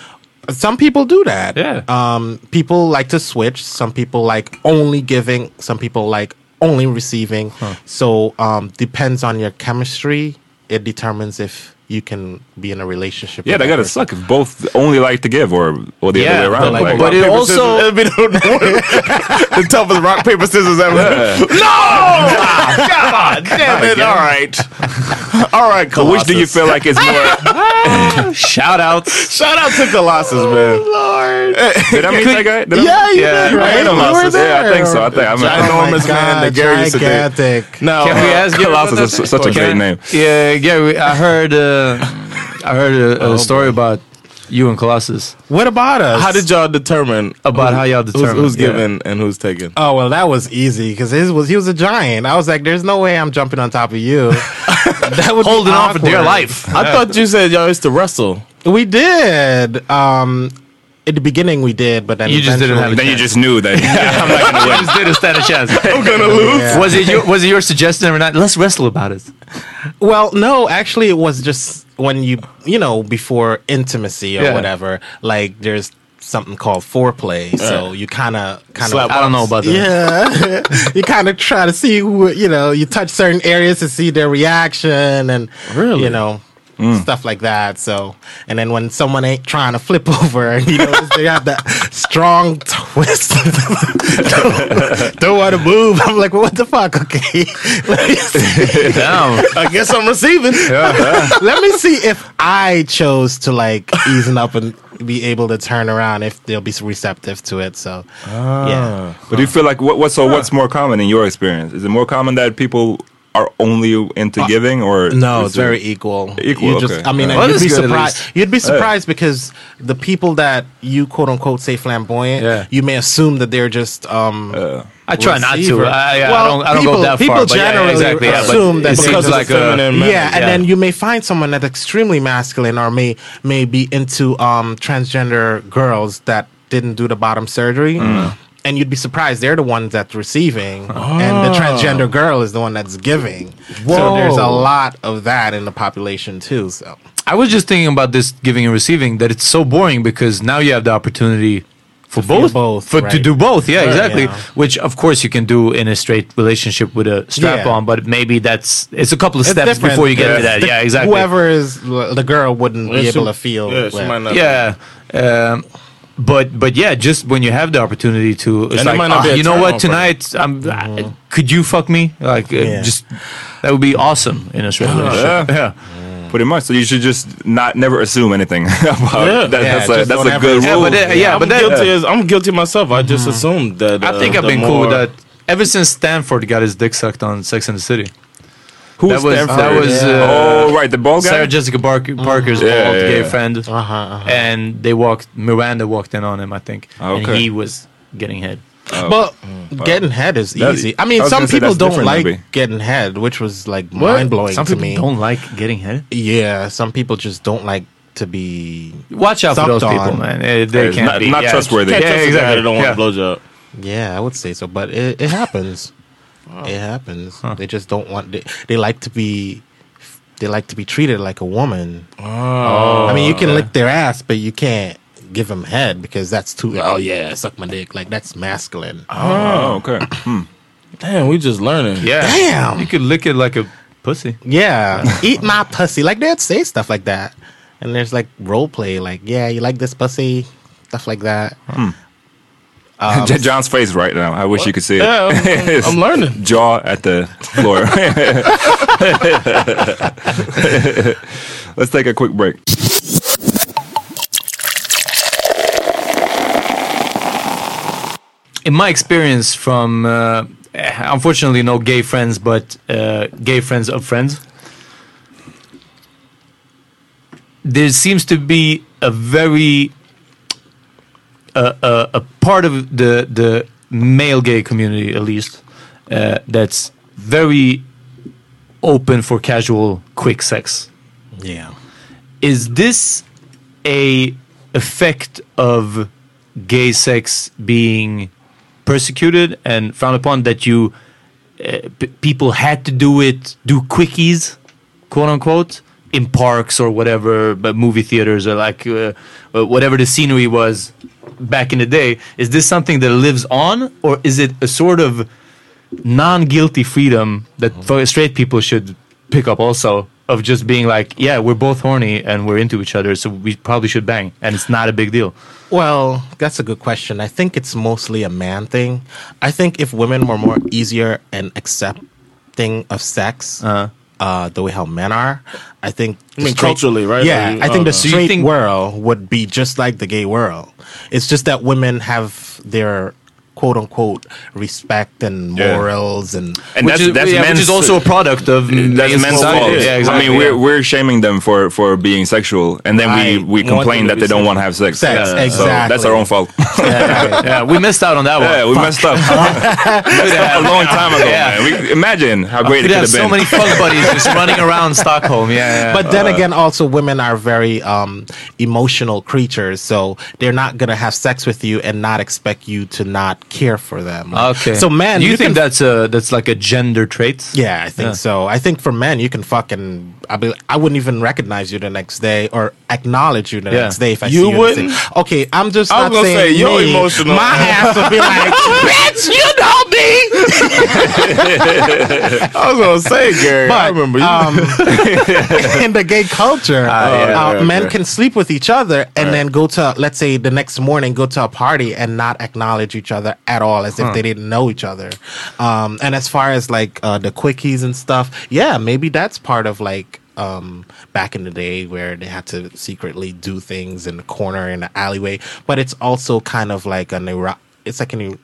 A: Some people do that.
D: Yeah.
A: Um, people like to switch. Some people like only giving. Some people like only receiving. So um, depends on your chemistry. It determines if you can be in a relationship.
F: Yeah,
A: with
F: they gotta
A: person.
F: suck if both only like to give or or the
D: Yeah,
F: other way around.
D: but like-
F: like-
D: but it also-
B: It'd be the the toughest rock paper scissors ever. No! God damn it! All right, all right.
F: So
B: Colossus.
F: which do you feel like is more? Oh,
D: Shout outs.
B: Shout out to Colossus, man.
F: did I meet that guy? Did I-
A: Yeah, you did,
F: I
A: right?
F: met him
A: You
F: last
A: were
F: year. Yeah, I think so. I think I met him.
A: Oh my
B: Ginormous man, the
A: God,
B: Gary used to date.
A: gigantic.
B: No,
D: uh, Can we ask you about
F: Colossus is
D: that?
F: su- such a great
D: Can-
F: name.
D: Yeah, Gary. I heard uh, I heard a, a story about you and Colossus.
A: Oh, What about us?
B: How did y'all determine
D: About how y'all
B: who's-
D: determine,
B: who's,
D: yeah.
B: giving and who's taking?
A: Oh well, that was easy because his was he was a giant. I was like, "There's no way I'm jumping on top of you." that would be
D: Holding on for dear
A: awkward.
D: life.
B: I thought you said y'all used to wrestle.
A: We did. Um, at the beginning, we did, but then
D: You just didn't have
A: eventually-
F: Then you just knew that I'm not gonna win.
D: just didn't stand a chance. I'm gonna
A: lose.
D: Was it your Was it your suggestion or not? Let's wrestle about it.
A: Well, no, actually, it was just when you you know before intimacy or
D: Yeah.
A: whatever. Like there's something called foreplay, so you kind of kind
B: Slap
A: of
D: I don't know about that.
A: Yeah, you kind of try to see who you know. You touch certain areas to see their reaction, and you know stuff like that. So, and then when someone ain't trying to flip over, and you know they have that strong twist, don't, want to move. I'm like, well, what the fuck? Okay, let me see.
D: Damn.
B: I guess I'm receiving.
A: let me see if I chose to like easing up and be able to turn around if they'll be receptive to it. So, yeah.
F: But do you feel like what, what? So what's more common in your experience? Is it more common that people are only into giving, or
A: Uh, No,
F: is
A: it's
F: it-
A: very equal.
F: Equal,
A: You just,
F: okay.
A: I mean,
F: Yeah.
A: and
D: Well,
A: you'd
D: that's
A: be
D: good at
A: surprised.
D: least.
A: You'd be surprised because the people that you quote unquote say flamboyant,
D: Yeah. Uh,
A: you may assume that they're just. Um,
D: I try not to.
A: Receiver.
D: I, I
A: Well,
D: don't. I don't go
A: people-
D: that far.
A: people
D: but yeah,
A: generally
D: exactly, yeah, but
A: assume that
D: it seems
A: because it's
D: like
B: feminine.
D: a.
B: men,
A: yeah, and
D: yeah.
A: then you may find someone that's extremely masculine or may may be into um, transgender girls that didn't do the bottom surgery.
D: Mm-hmm.
A: And you'd be surprised; they're the ones that's receiving, and
D: Oh.
A: the transgender girl is the one that's giving. So there's a
D: Whoa.
A: lot of that in the population too. So
D: I was just thinking about this giving and receiving that it's so boring because now you have the opportunity for
A: feel
D: both,
A: both,
D: for to
A: right.
D: do both. Yeah,
A: Sure,
D: exactly.
A: yeah.
D: Which of course you can do in a straight relationship with a strap on, but maybe that's it's a couple of
A: It's
D: steps
A: different.
D: before you get
A: Yeah.
D: to that.
A: The-
D: yeah, exactly.
A: Whoever is the girl wouldn't be
B: Yeah, she-
A: able to feel.
B: yeah, she
A: what-
B: might not-
D: Yeah. Um, but but yeah, just when you have the opportunity to, it's
B: And it
D: like,
B: might not
D: "Ah,
B: be a Mm-hmm.
D: you know what,
B: turn-on for them.
D: tonight, I'm, I, could you fuck me? Like, uh,
A: Yeah.
D: just that would be awesome in a straight relationship. Yeah.
F: Oh, Mm. pretty much. So you should just not never assume anything about that. That's
A: Yeah,
F: a
A: just
F: that's
A: don't
F: a
A: ever
F: good
A: assume.
D: Yeah,
F: rule.
D: but, uh, yeah, Mm-hmm.
B: I'm
D: but that,
B: guilty as I'm guilty myself. I just assumed that.
D: I think
B: uh,
D: I've
B: the
D: been cool with
B: more-
D: that ever since Stanford got his dick sucked on Sex and the City.
F: Who's
D: that was-
F: Stanford?
D: that was, uh,
F: oh right, the bald guy.
D: Sarah Jessica Barker, Parker's
F: Yeah,
D: old
F: yeah,
D: gay
F: yeah.
D: friend, uh-huh. and they walked. Miranda walked in on him, I think, and
F: Okay. Oh.
D: he was getting hit.
A: But getting head is
F: That's-
A: easy.
F: Mm,
A: I
F: I
A: mean,
F: was
A: some
F: gonna say
A: people
F: that's
A: don't
F: different,
A: like
F: maybe.
A: getting head, which was like mind blowing
D: Some
A: to
D: people
A: me.
D: don't like getting hit.
A: Yeah, some people just don't like to be.
D: Watch out for
A: Sucked
D: those people,
A: on.
D: man. Eh, They
F: It's
D: can't
F: not-
D: be
F: not
D: yeah.
F: trustworthy.
B: Can't
F: Yeah,
B: trust a guy that don't want
D: yeah.
B: a blowjob.
A: Yeah, I would say so, but it, it happens. It happens. They just don't want. They, they like to be. They like to be treated like a woman. Oh, I mean, you can lick their ass, but you can't give them head because that's too. Oh yeah, suck my dick. Like that's masculine.
F: oh okay.
B: Damn, we just learning.
D: Hmm. Yeah,
A: Damn.
D: You could lick it like a pussy.
A: Yeah, eat my pussy. Like they'd say stuff like that, and there's like role play. Like yeah, you like this pussy, stuff like that.
F: J- Uh, John's face right now. I wish you could see it.
B: Yeah, I'm-
F: His
B: I'm learning.
F: Jaw at the floor. Let's take a quick break.
D: in my experience from uh, eh, unfortunately no gay friends, but uh, gay friends of friends. There seems to be a very uh, uh, a part of the the male gay community, at least, uh, that's very open for casual quick sex.
A: Yeah.
D: Is this a effect of gay sex being persecuted and frowned upon that you uh, p- people had to do it do quickies quote unquote in parks or whatever but movie theaters or like uh, uh, whatever the scenery was back in the day is this something that lives on or is it a sort of non-guilty freedom that fo- straight people should pick up also of just being like yeah we're both horny and we're into each other so we probably should bang and it's not a big deal
A: Well, that's a good question. I think it's mostly a man thing. I think if women were more easier and accepting of sex,
F: Uh-huh.
A: uh the way how men are, I think.
B: I
A: the
B: mean, culturally, right?
A: Yeah,
B: Like,
A: I
F: uh-huh.
A: think
B: uh,
A: the
B: So you
A: straight
D: think-
A: world would be just like the gay world. It's just that women have their quote unquote respect and
F: Yeah.
A: morals and.
F: And
D: which
F: that's,
D: is,
F: that's
D: yeah,
F: men's,
D: which is also a product of
F: that's men's fault. I
D: Yeah, exactly.
F: mean, we're
D: yeah.
F: we're shaming them for for being sexual, and then
A: Right.
F: we we
A: Want them
F: complain
A: to
F: that
A: be
F: they don't want
A: sexual.
F: to have sex.
A: Sex, Yeah.
F: So that's
A: exactly.
F: our own fault.
D: Yeah, we missed out on that one.
F: yeah, we messed up. a long time ago.
D: Yeah.
F: Man. We, imagine how great it
D: We'd
F: could
D: have
F: have been.
D: Oh, so many fuck buddies just running around Stockholm. Yeah, yeah. Uh,
A: But then again, also women are very um, emotional creatures, so they're not gonna have sex with you and not expect you to not care for them. Like,
D: okay.
A: So man,
D: you,
A: you,
D: think
A: can,
D: that's a that's like a gender trait?
A: Yeah, I think
D: Yeah.
A: so. I think for men, you can fucking. I be, I wouldn't even recognize you the next day or acknowledge you the
D: Yeah.
A: next day if I
B: You
A: see you. in the
B: wouldn't?
A: city. Okay, I'm just.
B: I was
A: not
B: gonna
A: saying
B: say, you're
A: me.
B: emotional.
A: My ass would be like, bitch, you know me.
B: I was gonna say, Gary. I
A: But
B: remember you. Ah,
A: um, in the gay culture, uh, men can sleep with each other and then go to, let's say, the next morning, go to a party and not acknowledge each other at all, as if they didn't know each other. Um, and as far as like uh, the quickies and stuff, yeah, maybe that's part of like. Um, back in the day where they had to secretly do things in the corner in the alleyway, but it's also kind of like an ero- it's like an er-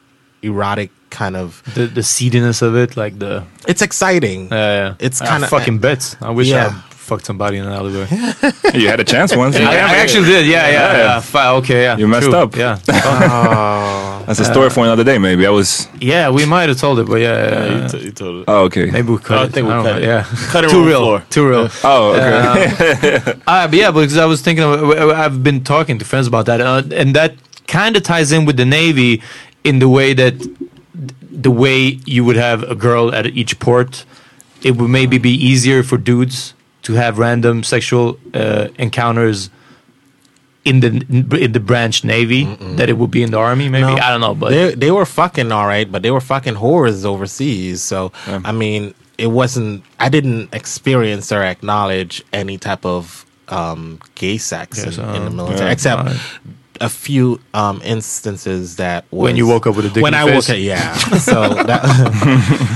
A: erotic kind of
D: The the seediness of it, like the
A: it's exciting.
D: yeah,
A: It's
D: I
A: kinda- uh,
D: fucking bets. I wish
A: Yeah.
D: I fucked somebody in an alleyway.
F: you had a chance once.
D: I, I actually did. Yeah, yeah, yeah. Fi- okay, yeah.
F: You messed
D: true,
F: up.
D: Yeah,
A: Oh.
D: Oh. Uh,
F: That's a story for another day, maybe. I was.
D: yeah. We might have told it, but yeah, yeah, yeah.
B: you,
C: uh,
B: t- you told it.
F: Oh, okay.
D: maybe we could.
B: I think we cut it.
D: Yeah,
B: Cut it
D: too
B: on the
D: real.
B: floor.
D: Too real.
F: Oh, okay.
D: Uh, but yeah, because I was thinking, of, w- I've been talking to friends about that, uh, and that kind of ties in with the Navy in the way that the way you would have a girl at each port, it would maybe be easier for dudes to have random sexual uh, encounters in the in the branch Navy that it would be in the Army. Maybe I don't know, but
A: they they were fucking all right, but they were fucking whores overseas. So I mean, it wasn't. I didn't experience or acknowledge any type of um, gay sex in,
D: uh,
A: in the military, except a few um, instances that was,
D: When you woke up with a dick in
A: When
D: your
A: I
D: face.
A: woke up, yeah. So that,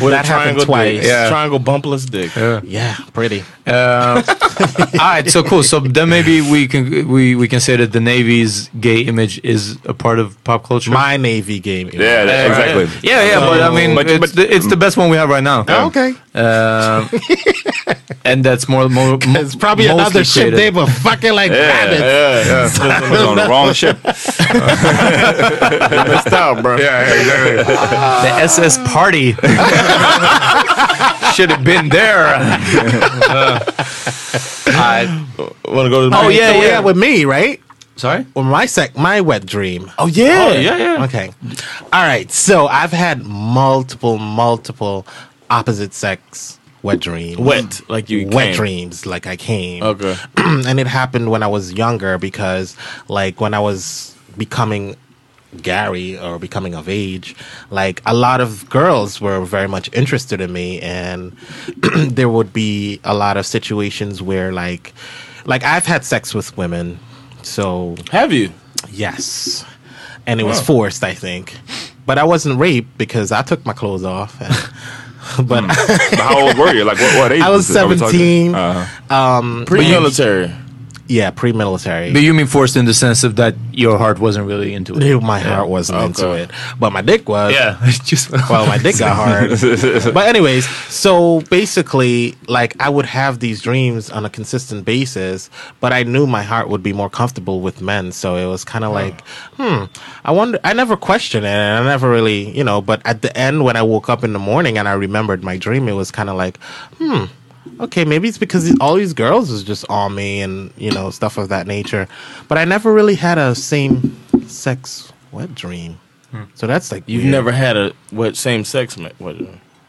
B: With a
A: that happened
B: triangle
A: twice.
B: dick.
A: Yeah.
B: Triangle bumpless dick.
A: yeah, pretty.
D: All right, Ah, so cool. So then maybe we can we, we can say that the Navy's gay image is a part of pop culture.
A: My Navy game. it
F: Yeah,
A: was.
F: that- exactly.
D: Yeah, yeah, but I mean,
F: But-
D: it's,
F: but-
D: the, it's the best one we have right now.
A: Oh, okay.
D: Um, and that's more, more, mo-
A: It's probably
D: mostly
A: another ship
D: created.
A: they were fucking like rabbits.
F: Yeah, yeah. was on the wrong ship.
B: Messed out, bro.
F: Yeah, exactly.
D: The SS Party should have been there. Uh, I-
B: Want to go to the
D: Oh,
B: break?
D: yeah,
A: So
D: yeah.
A: we're at with me, right?
D: sorry.
A: Or my sec, my wet dream.
D: Oh yeah, yeah,
A: Okay. All right. So I've had multiple, multiple opposite sex wet dreams.
B: Wet, like you
A: wet
B: came.
A: dreams, like I came.
B: Okay.
A: and it happened when I was younger because, like, when I was becoming Gary or becoming of age, like a lot of girls were very much interested in me, and there would be a lot of situations where, like, like I've had sex with women, so
B: Have you?
A: Yes. And it was forced, I think. But I wasn't raped because I took my clothes off. but
F: But How old were you? Like, what, what age?
A: I was
F: it? Are we talking-
A: 17.
F: Uh-huh.
B: Pre-military.
A: yeah, Um, yeah, pre-military.
D: But you mean forced in the sense of that your heart wasn't really into it.
A: Dude, my heart wasn't into it, but my dick was.
D: Yeah, just
A: Well, my dick got hard. but anyways, so basically, like I would have these dreams on a consistent basis, but I knew my heart would be more comfortable with men. So it was kind of like, hmm, I wonder. I never questioned it, and I never really, you know. But at the end, when I woke up in the morning and I remembered my dream, it was kind of like, hmm. Okay, maybe it's because these- all these girls was just on me and you know stuff of that nature, but I never really had a same sex wet dream.
B: Hmm.
A: So that's like
B: You've
A: weird.
B: never had a what same sex ma- what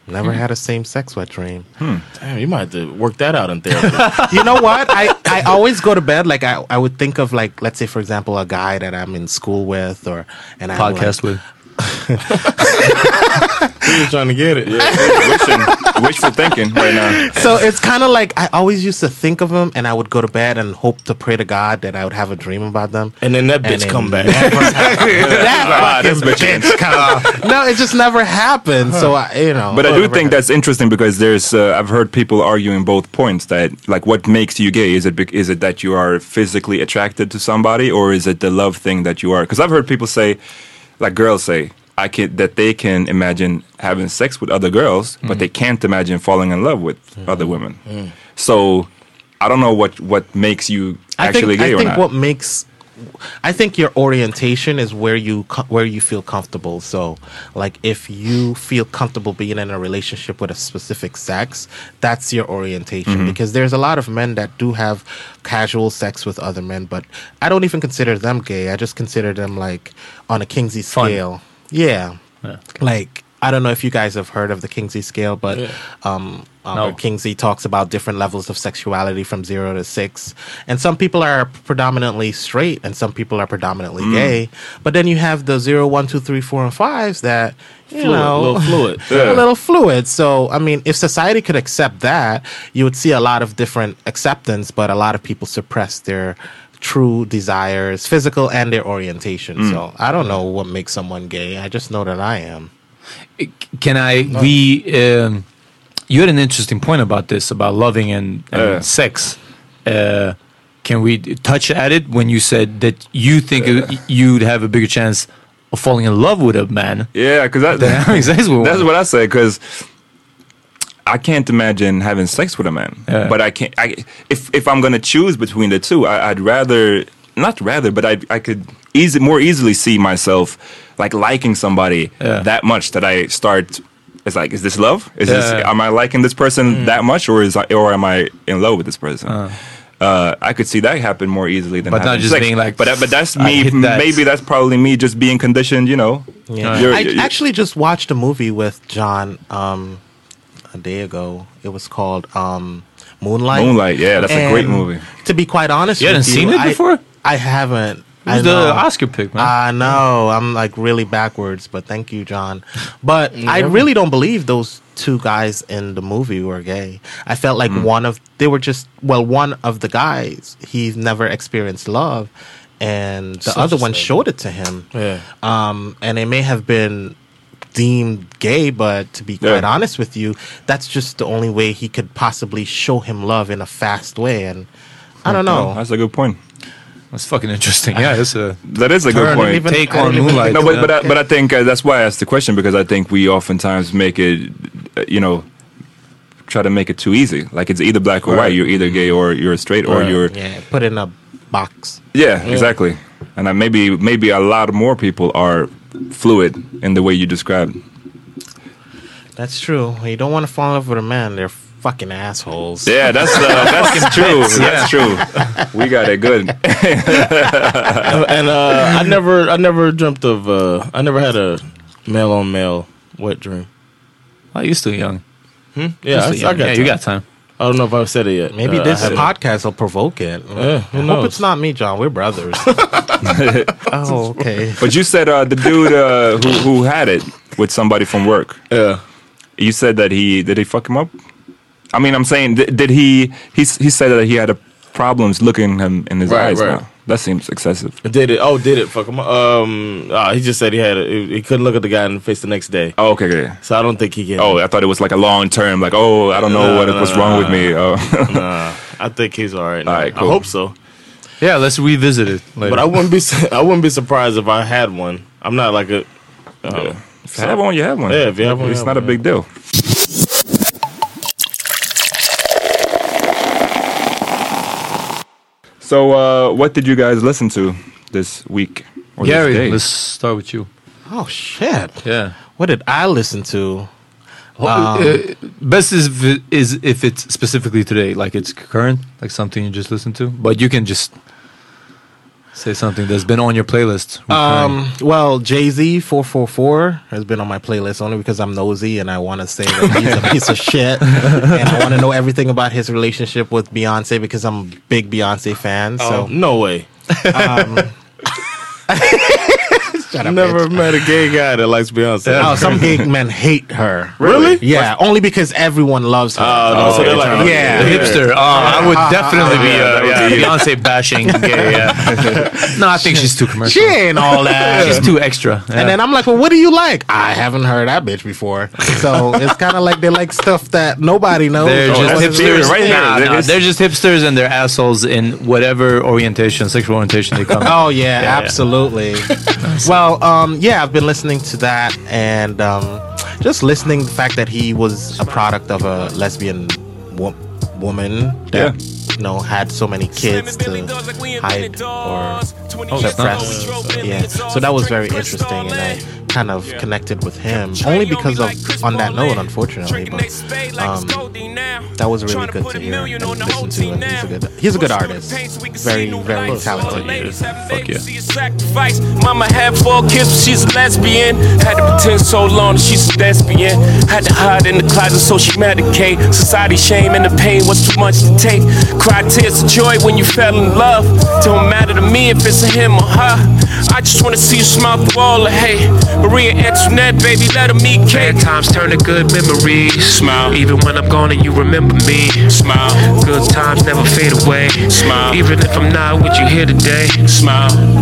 A: Never had a same sex wet dream.
B: Hmm. damn, you might have to work that out in therapy.
A: You know what? I, I always go to bed like I, I would think of like let's say for example a guy that I'm in school with or and I
D: podcast with.
B: you were trying to get it.
C: wishing, wishful thinking right now.
A: So it's kind of like I always used to think of them and I would go to bed and hope to pray to God that I would have a dream about them.
B: And then that
A: And
B: bitch
A: it
B: come back.
A: never happened.
C: Ah,
A: that
C: this
A: fucking
C: bitch.
A: bitch come. No, it just never happened. So I, you know.
C: But I do
A: whatever.
C: think that's interesting because there's uh, I've heard people arguing both points that like what makes you gay is it bec- is it that you are physically attracted to somebody or is it the love thing that you are because I've heard people say like girls say I can that they can imagine having sex with other girls but they can't imagine falling in love with other women
B: Mm.
C: so I don't know what what makes you
A: I
C: actually
A: think,
C: gay
A: I
C: or
A: think
C: not
A: what makes I think your orientation is where you co- where you feel comfortable. So, like if you feel comfortable being in a relationship with a specific sex, that's your orientation
C: Mm-hmm.
A: because there's a lot of men that do have casual sex with other men, but I don't even consider them gay. I just consider them like on a Kinsey scale. Yeah. Like I don't know if you guys have heard of the Kinsey scale, but um, Albert Kingsley talks about different levels of sexuality from zero to six, and some people are predominantly straight, and some people are predominantly gay. But then you have the zero, one, two, three, four, and fives that you
B: Fluid,
A: know,
B: little fluid.
A: a little fluid. So I mean, if society could accept that, you would see a lot of different acceptance, but a lot of people suppress their true desires, physical and their orientation. So I don't know what makes someone gay. I just know that I am.
D: Can I re? Um, you had an interesting point about this about loving and, and
C: Yeah.
D: sex. Uh, can we d- touch at it when you said that you think it- you'd have a bigger chance of falling in love with a man?
C: yeah because that,
D: than having sex with
C: That's
D: one?
C: what I say because I can't imagine having sex with a man. But I can't. I, if if I'm gonna choose between the two, I, I'd rather not rather, but I I could easy more easily see myself like liking somebody that much that I start. It's like, is this love? Is this?
D: Yeah. Mm.
C: Am I liking this person that much, or is I, or am I in love with this person? Uh. I could see that happen more easily than
D: But not
C: having
D: just
C: sex.
D: being like,
C: But that- but that's
D: I
C: me.
D: hit that.
C: Maybe that's probably me just being conditioned. You know.
A: Yeah.
C: You're-
A: I
C: you're-
A: actually just watched a movie with John um, a day ago. It was called um, Moonlight.
C: Moonlight, yeah, that's a great
A: And
C: movie.
A: To be quite honest,
D: You
A: with
D: hadn't seen it
A: I-
D: before?
A: I haven't. I
D: Who's the
A: know.
D: Oscar pick, man?
A: I know. I'm like really backwards, but thank you, John. But I really don't believe those two guys in the movie were gay. I
D: Mm.
A: felt like one of they were just well, one of the guys he's never experienced love, and the other one showed it to him.
B: Yeah.
A: Um, and it may have been deemed gay, but to be quite
C: Yeah.
A: honest with you, that's just the only way he could possibly show him love in a fast way. And I don't know.
C: That's a good point.
D: That's fucking interesting. Yeah, that's a
C: That is a good
D: turn
C: point.
A: even-
D: take
A: I didn't
D: on
A: even
D: moonlight.
C: no, but but
D: yeah.
C: I, but I think uh, that's why I asked the question because I think we oftentimes make it, uh, you know, try to make it too easy. Like it's either black or white. You're either gay or you're straight or
B: Right.
C: you're
A: Yeah, put in a box.
C: yeah, exactly. And I, maybe maybe a lot more people are fluid in the way you described.
A: That's true. You don't want to fall in love with a man. They're fucking assholes.
C: Yeah, that's uh, that's true. That's true. We got it good.
B: and uh, I never, I never dreamt of, uh, I never had a male on male wet dream.
D: Oh, you're still young.
B: Hmm. Yeah, I,
D: You're
B: I
D: still
B: got.
D: young. yeah, you
B: time.
D: got time.
B: I don't know if I've said it yet.
A: Maybe
B: Uh, I
A: this
B: haven't.
A: podcast will provoke it.
B: Yeah, who
A: I hope
B: knows?
A: it's not me, John. We're brothers. oh, okay.
C: But you said uh, the dude uh, who who had it with somebody from work.
B: Yeah.
C: You said that he did he fuck him up. I mean, I'm saying th- did he he s- he said that he had a problems looking him in his
B: Right,
C: eyes.
B: right.
C: Now. That seems excessive.
B: Did it? Oh, did it? Fuck him. up. Um, ah, he just said he had. A, he he couldn't look at the guy in the face the next day.
C: Oh, okay, okay.
B: So I don't think he can.
C: Oh, I thought it was like a long term. Like, oh, I don't know
B: No,
C: what
B: no,
C: what's
B: no,
C: wrong
B: no,
C: with me. Oh.
B: I think he's all right. Now.
C: All right,
B: I
C: cool.
B: hope so.
D: Yeah, let's revisit it later.
B: But I wouldn't be su- I wouldn't be surprised if I had one. I'm not like a um,
F: If you have one, you have one.
B: Yeah, if you have one, you
F: it's
B: have
F: not
B: one,
F: a big deal. So, uh, what did you guys listen to this week or this
D: Gary,
F: day?
D: let's start with you.
A: Oh shit!
D: Yeah.
A: What did I listen to? Um,
D: Uh, best is if, it- is if it's specifically today, like it's current, like something you just listened to. But you can just say something that's been on your playlist. recurring.
A: Um, well, Jay Z four four four has been on my playlist only because I'm nosy and I want to say that he's a piece of shit, and I want to know everything about his relationship with Beyonce because I'm a big Beyonce fan.
B: So
A: So
B: Oh,
A: Um,
B: no way.
C: Ah,
A: shut
B: I
A: up,
B: never
A: bitch.
B: met a gay guy that likes Beyonce.
A: Oh, some gay men hate her.
B: Really? Oh,
A: Yeah, only because everyone loves her.
B: no, so they're like-
A: Oh, yeah.
D: The hipster. Oh, I would definitely be
F: yeah,
D: uh,
F: that would be
D: yeah, Beyonce bashing. Gay, yeah. no, I think she's too commercial.
A: She ain't all that.
D: She's too extra.
A: And then I'm like, well, what do you like? I haven't heard that bitch before. So it's kind of like they like stuff that nobody knows.
D: They're
A: or
D: just
A: doesn't
F: that's theory
D: hipsters.
F: right
D: Nah,
F: there.
D: nah,
F: It's-
D: they're just hipsters and they're assholes in whatever orientation, sexual orientation they come. in.
A: Oh yeah, absolutely. well, um, yeah, I've been listening to that and um, just listening to the fact that he was a product of a lesbian wo- woman that you know had so many kids to hide or Oh, suppress. yeah, so that was very interesting, and I kind of connected with him only because of on that note, unfortunately. But um, that was really good to hear and listen to. And he's a good, he's a good artist, very very talented.
D: Fuck yeah.
H: Sacrifice. Mama had four kids, but she's a lesbian. Had to pretend so long that she's a lesbian. Had to hide in the closet so she medicate. Society shame and the pain was too much to take. Cry tears of joy when you fell in love. Don't matter to me if it's him or her. I just wanna see you smile through all the hate. Maria Antoinette, baby, let her meet Kate. Bad times turn to good memories. Smile. Even when I'm gone and you remember me. Smile. Good times never fade away. Smile. Even if I'm not with you here today. Smile.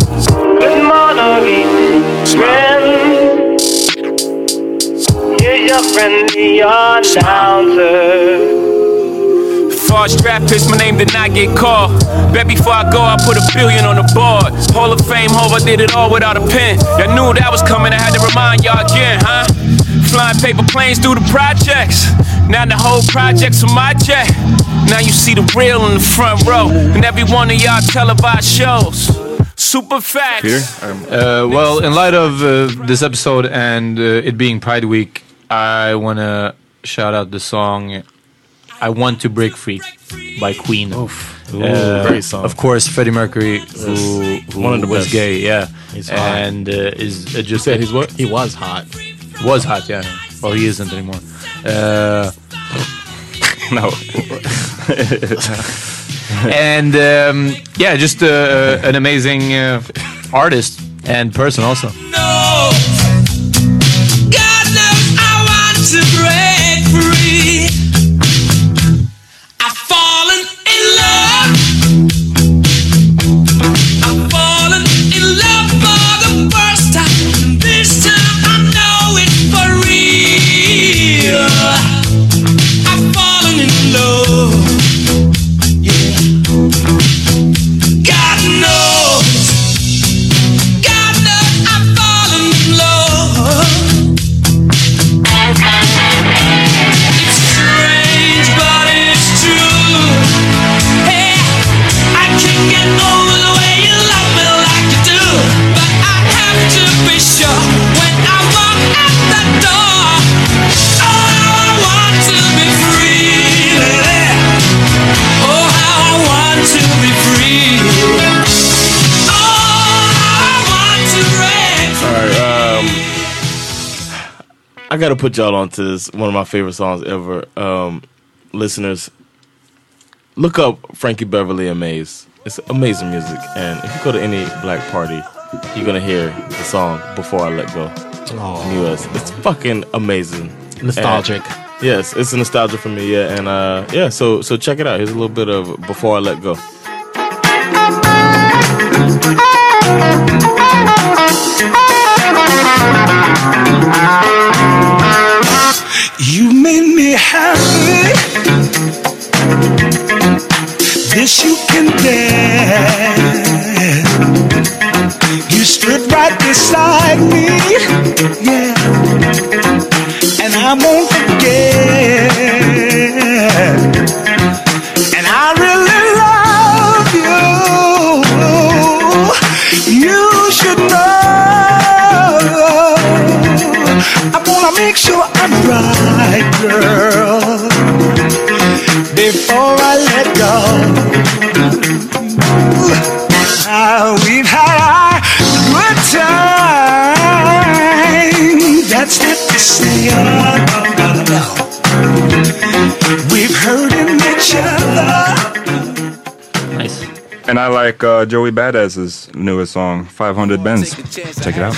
H: Fudge draft picks, my name did not get called. Bet before I go, I put a billion on the board. Hall of Fame, hope I did it all without a pen. Y'all knew that was coming, I had to remind y'all again, huh? Flying paper planes through the projects. Now the whole project's on my jet. Now you see the real in the front row. And every one of y'all televised shows. Super facts.
D: Uh, well, in light of uh, this episode and uh, it being Pride Week, I want to shout out the song I Want to Break Free by Queen. Uh,
B: great song.
D: Of course, Freddie Mercury, who, who
B: One of the
D: was
B: best.
D: gay, yeah.
A: hot.
D: and uh, is uh, just.
B: Said he's what?
A: He was hot.
D: Was hot, yeah. Well, he isn't anymore. Uh,
F: no.
D: and um, yeah, just uh, an amazing uh, artist and person also.
H: No, God knows I want to break free. I've fallen in love. I've fallen in love for the first time. This time I know it for real. I've fallen in love. Yeah. God knows. God knows I've fallen in love. It's strange, but it's true. Hey, I can't get over the way you love me like you do. But I have to be sure when I walk out the door. Oh, how I want to be free. Oh, how I want to be free. Oh, I want to break free.
B: um, I gotta put y'all onto this one of my favorite songs ever. Um, listeners, look up Frankie Beverly and Maze. It's amazing music, and if you go to any black party, you're gonna hear the song "Before I Let Go." in the U.S. It's fucking amazing,
A: Nostalgic.
B: And- yes, it's a nostalgia for me. Yeah, and uh, yeah, so so check it out. Here's a little bit of "Before I Let Go."
H: You made me happy. This you can bear.
E: me. Yeah. And I won't forget. And I really love you. You should know. I wanna make sure I'm right, girl. Before I let go. Ah, we've had our good time. That's not the same. We've heard in each other.
F: Nice. And I like uh, Joey Badass's newest song, 500 Bends. Check it out.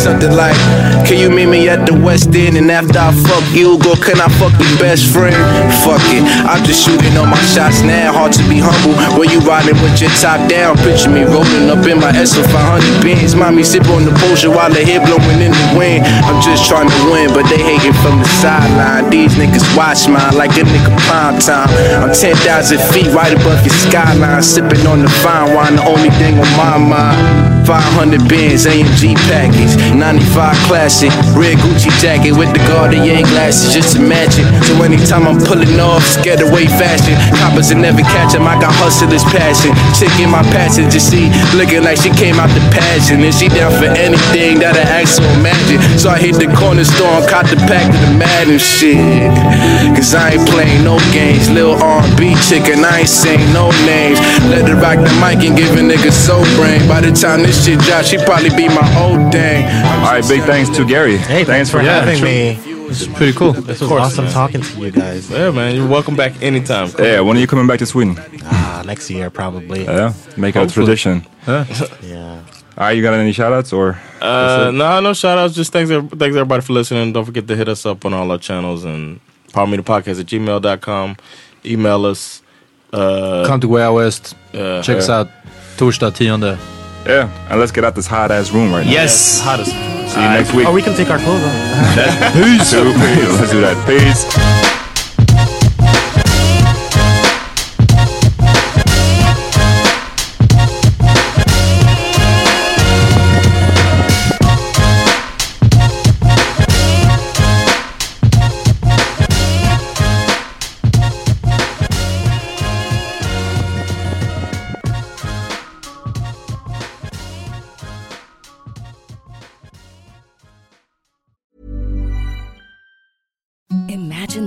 I: Something like, can you meet me at the West End? And after I fuck you, go, can I fuck your best friend? Fuck it, I'm just shooting all my shots now. Hard to be humble when you riding with your top down. Picture me rolling up in my SO 500 bins. Mommy sip on the potion while the hair blowing in the wind. I'm just trying to win, but they hating from the sideline. These niggas watch mine like a nigga prime time. I'm 10,000 feet right above your skyline, sipping on the fine wine. The only thing on my mind. 500 bands, AMG package, 95 classic, red Gucci jacket with the Guardian glasses, just imagine. So anytime I'm pulling off, scared away fashion. Coppers and never catch 'em, I got hustlers passion. Chick in my passenger seat, looking like she came out the passion. And she down for anything that I ask or imagine. So I hit the corner store and caught the pack of the Madden shit. Cause I ain't playing no games, Lil R&B chicken, I ain't saying no names. Let her rock the mic and give a nigga soul brain. By the time this shit drop, she probably be my old thing.
F: All right, big thanks to Gary. thanks for
A: yeah,
F: having
A: me.
F: It's pretty cool.
A: This was awesome talking to you guys.
B: Yeah, man. You're welcome back anytime.
F: Yeah, when are you coming back to Sweden?
A: Ah, next year probably.
F: Yeah, make it a
A: Hopefully.
F: tradition. Yeah. All right, Ah, you got any shout outs or?
B: Uh, no, no shout outs. Just thanks, ev- thanks everybody for listening. Don't forget to hit us up on all our channels and follow me the podcast at gmail.com. Email us. Uh,
D: Come to Way Out West.
B: Yeah.
D: Check us
B: Yeah.
D: out. Torsdag 10.
F: Yeah, and let's get out this hot ass room right now.
D: Yes.
B: Hot as
F: See you next week.
A: Or we can take our clothes off.
F: Peace. Let's do that. Peace.
J: Imagine